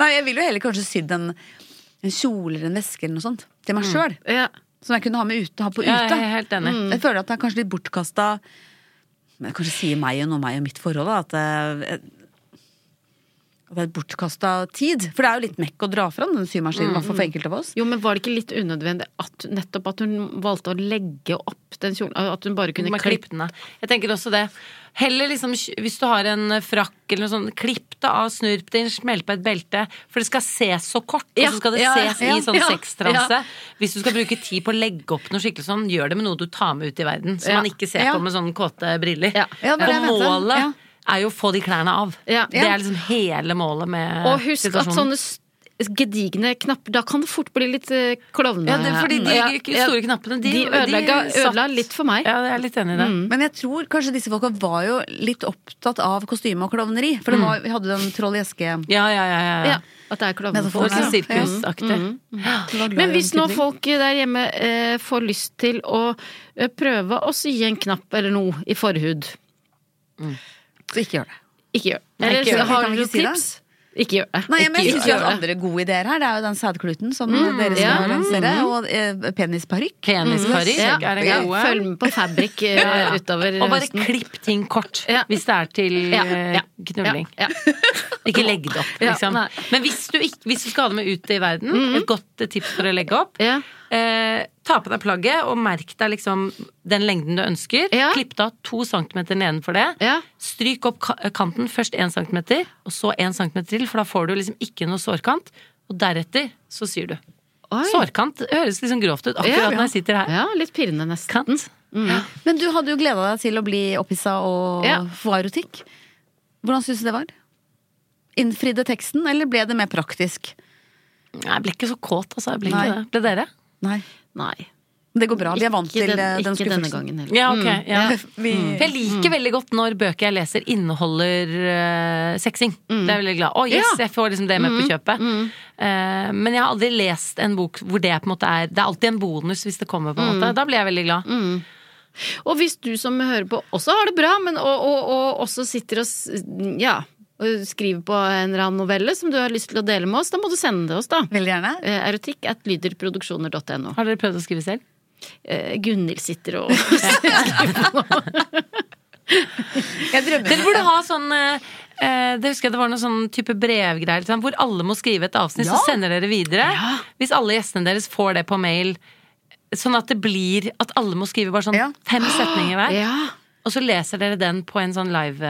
Speaker 2: Nei, jeg ville jo heller kanskje sydd en, en kjole eller en veske eller noe sånt til meg sjøl.
Speaker 1: Ja.
Speaker 2: Som jeg kunne ha med ute, ha på ute. Mm.
Speaker 4: Ja, jeg er helt enig.
Speaker 2: Jeg føler at det er kanskje litt bortkasta Men det kanskje sier meg og noe om meg og mitt forhold, da. At det, at det er bortkasta tid. For det er jo litt mekk å dra fram den symaskinen, i hvert
Speaker 1: Mm.
Speaker 2: fall for enkelte av oss.
Speaker 1: Jo, men var det ikke litt unødvendig at, nettopp at hun valgte å legge opp den kjolen? eh, At hun bare kunne
Speaker 4: Med
Speaker 1: klippe
Speaker 4: klippene. Jeg tenker også det. Heller liksom, hvis du har en frakk eller noe sånt, klipp det av, snurp det inn, smell på et belte. For det skal ses så kort,
Speaker 1: Ja,
Speaker 4: og så skal det
Speaker 1: ja,
Speaker 4: ses
Speaker 1: ja,
Speaker 4: i sånn
Speaker 1: ja,
Speaker 4: sextranse.
Speaker 1: ja.
Speaker 4: Hvis du skal bruke tid på å legge opp noe skikkelig sånn, gjør det med noe du tar med ut i verden. Som
Speaker 1: Ja.
Speaker 4: man ikke ser
Speaker 2: Ja.
Speaker 4: på med sånne kåte briller.
Speaker 1: Ja.
Speaker 2: Ja, det var det
Speaker 4: og
Speaker 2: jeg mente.
Speaker 4: målet
Speaker 2: Ja.
Speaker 4: er jo å få de klærne av.
Speaker 1: Ja.
Speaker 4: Det er liksom hele målet med
Speaker 1: Og husk at sånn- sånne s- gedigne knapper Da kan det fort bli litt eh, klovne...
Speaker 4: ja, det, er fordi de
Speaker 1: Ja, ja.
Speaker 4: store knappene, de,
Speaker 1: De ødelegga,
Speaker 4: de satt-
Speaker 1: ødela litt for meg.
Speaker 4: Ja, jeg er litt enig i det.
Speaker 2: Men jeg tror kanskje disse folka var jo litt opptatt av kostyme og klovneri. For det
Speaker 1: Mm.
Speaker 2: var, vi hadde den Troll i eske
Speaker 4: Ja, ja, ja. ja.
Speaker 1: Ja, at det er klovne
Speaker 2: Metaforen,
Speaker 4: Og
Speaker 2: ja.
Speaker 4: sånn sirkusaktig.
Speaker 1: Ah,
Speaker 2: Mm.
Speaker 1: Men hvis nå folk der hjemme eh, får lyst til å eh, prøve å sy en knapp eller noe i forhud,
Speaker 2: Så ikke gjør det.
Speaker 1: ikke gjør det.
Speaker 4: Nei, ikke
Speaker 1: Eller
Speaker 4: gjør det.
Speaker 1: har
Speaker 2: Kan vi
Speaker 1: dere
Speaker 2: ikke
Speaker 1: noen
Speaker 2: si det?
Speaker 1: tips? Ikke gjør det.
Speaker 2: Nei, men jeg
Speaker 1: Ikke
Speaker 2: syns vi
Speaker 1: gjør
Speaker 2: har
Speaker 1: det.
Speaker 2: andre gode ideer her. Det er jo den sædkluten som dere
Speaker 1: ja. Mm.
Speaker 2: skal lansere, og eh, penisparykk.
Speaker 4: Penisparykk
Speaker 1: Ja,
Speaker 4: er en
Speaker 1: ja,
Speaker 4: god
Speaker 1: følg med på Fabric eh, utover
Speaker 4: Og bare
Speaker 1: høsten.
Speaker 4: klipp ting kort
Speaker 1: Ja.
Speaker 4: hvis det er til
Speaker 1: Ja,
Speaker 4: eh,
Speaker 1: ja,
Speaker 4: knulling.
Speaker 1: Ja, ja.
Speaker 4: Ikke legg det opp,
Speaker 1: Ja,
Speaker 4: liksom.
Speaker 1: nei. Mhm.
Speaker 4: Men hvis du, ikke, hvis du skal ha det med ut i verden, et godt eh, tips for å legge opp
Speaker 1: Ja.
Speaker 4: eh, Ta på deg plagget og merk deg liksom den lengden du ønsker.
Speaker 1: Ja.
Speaker 4: Klipp det av to centimeter nedenfor det.
Speaker 1: Ja.
Speaker 4: Stryk opp ka- kanten, først én centimeter, og så én centimeter til, for da får du liksom ikke noe sårkant. Og deretter så syr du.
Speaker 1: Oi.
Speaker 4: Sårkant det høres liksom grovt ut
Speaker 1: Ja.
Speaker 4: akkurat når jeg sitter her.
Speaker 1: Ja, Mm. litt pirrende nesten.
Speaker 4: Kant.
Speaker 6: Men du hadde jo gleda deg til å bli opphissa og
Speaker 1: Ja.
Speaker 6: få erotikk. Hvordan syns du det var? Innfridde teksten, eller ble det mer praktisk?
Speaker 4: Nei, Jeg ble ikke så kåt, altså. Jeg ble
Speaker 6: Nei.
Speaker 4: ikke det. Ble dere?
Speaker 6: Nei.
Speaker 1: Nei.
Speaker 6: Det går bra. Vi er vant
Speaker 1: Ikke,
Speaker 6: til
Speaker 1: den,
Speaker 6: eh, den
Speaker 1: ikke denne
Speaker 6: skuffelsen.
Speaker 1: gangen heller.
Speaker 4: Ja, ok. Ja.
Speaker 1: Mm.
Speaker 6: Vi,
Speaker 4: For jeg liker veldig godt når bøker jeg leser, inneholder eh, sexing. Det er jeg veldig glad Å, yes,
Speaker 1: Mm. Ja. Mm.
Speaker 4: jeg får liksom det med på kjøpet. Eh, men jeg har aldri lest en bok hvor det på en måte er Det er alltid en bonus hvis det kommer. på en
Speaker 1: Mm.
Speaker 4: måte Da blir jeg veldig glad.
Speaker 1: Og hvis du som hører på også har det bra, men og, og, og også sitter og s- ja, og skriver på en eller annen novelle som du har lyst til å dele med oss, da må du sende det oss, da.
Speaker 6: veldig gjerne.
Speaker 1: Eh, Erotikk at lyderproduksjoner.no.
Speaker 4: Har dere prøvd å skrive selv?
Speaker 1: Eh, Gunhild sitter og
Speaker 6: Jeg drømmer
Speaker 4: Dere burde ha sånn eh, eh, det husker jeg det var noen sånn type brevgreier liksom, hvor alle må skrive et avsnitt, så sender dere videre. Hvis alle gjestene deres får det på mail, sånn at det blir at alle må skrive bare sånn
Speaker 6: Ja.
Speaker 4: fem setninger hver.
Speaker 1: Ja.
Speaker 4: Og så leser dere den på en sånn
Speaker 6: Mm,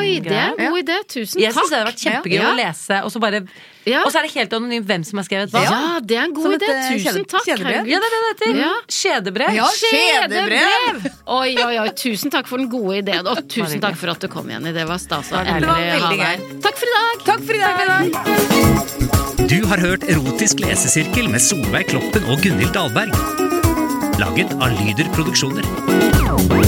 Speaker 1: Oi, det er
Speaker 4: live-greie.
Speaker 1: en god idé. Tusen
Speaker 4: Jeg
Speaker 1: takk.
Speaker 4: syns det hadde vært kjempegøy
Speaker 1: Ja.
Speaker 4: å lese, og så bare
Speaker 1: Ja.
Speaker 4: Og så er det helt anonymt hvem som har skrevet hva.
Speaker 1: Ja, det er en god
Speaker 6: Som et,
Speaker 1: idé.
Speaker 6: eh,
Speaker 1: Tusen
Speaker 6: kjede-
Speaker 1: takk.
Speaker 6: kjedebrev.
Speaker 1: herregud.
Speaker 4: Ja, det er det det heter!
Speaker 1: Ja.
Speaker 4: Skjedebrev.
Speaker 6: Ja, skjedebrev!
Speaker 1: Oi, oi, oi. Tusen takk for den gode ideen. Og tusen takk for at du kom, Jenny. Det var stas å endelig
Speaker 4: deilig.
Speaker 6: Det var
Speaker 1: ha
Speaker 6: veldig
Speaker 1: deg. Takk for i dag.
Speaker 6: Takk for i dag!
Speaker 5: Du har hørt Erotisk lesesirkel med Solveig Kloppen og Gunhild Dahlberg. Laget av Lyder Produksjoner.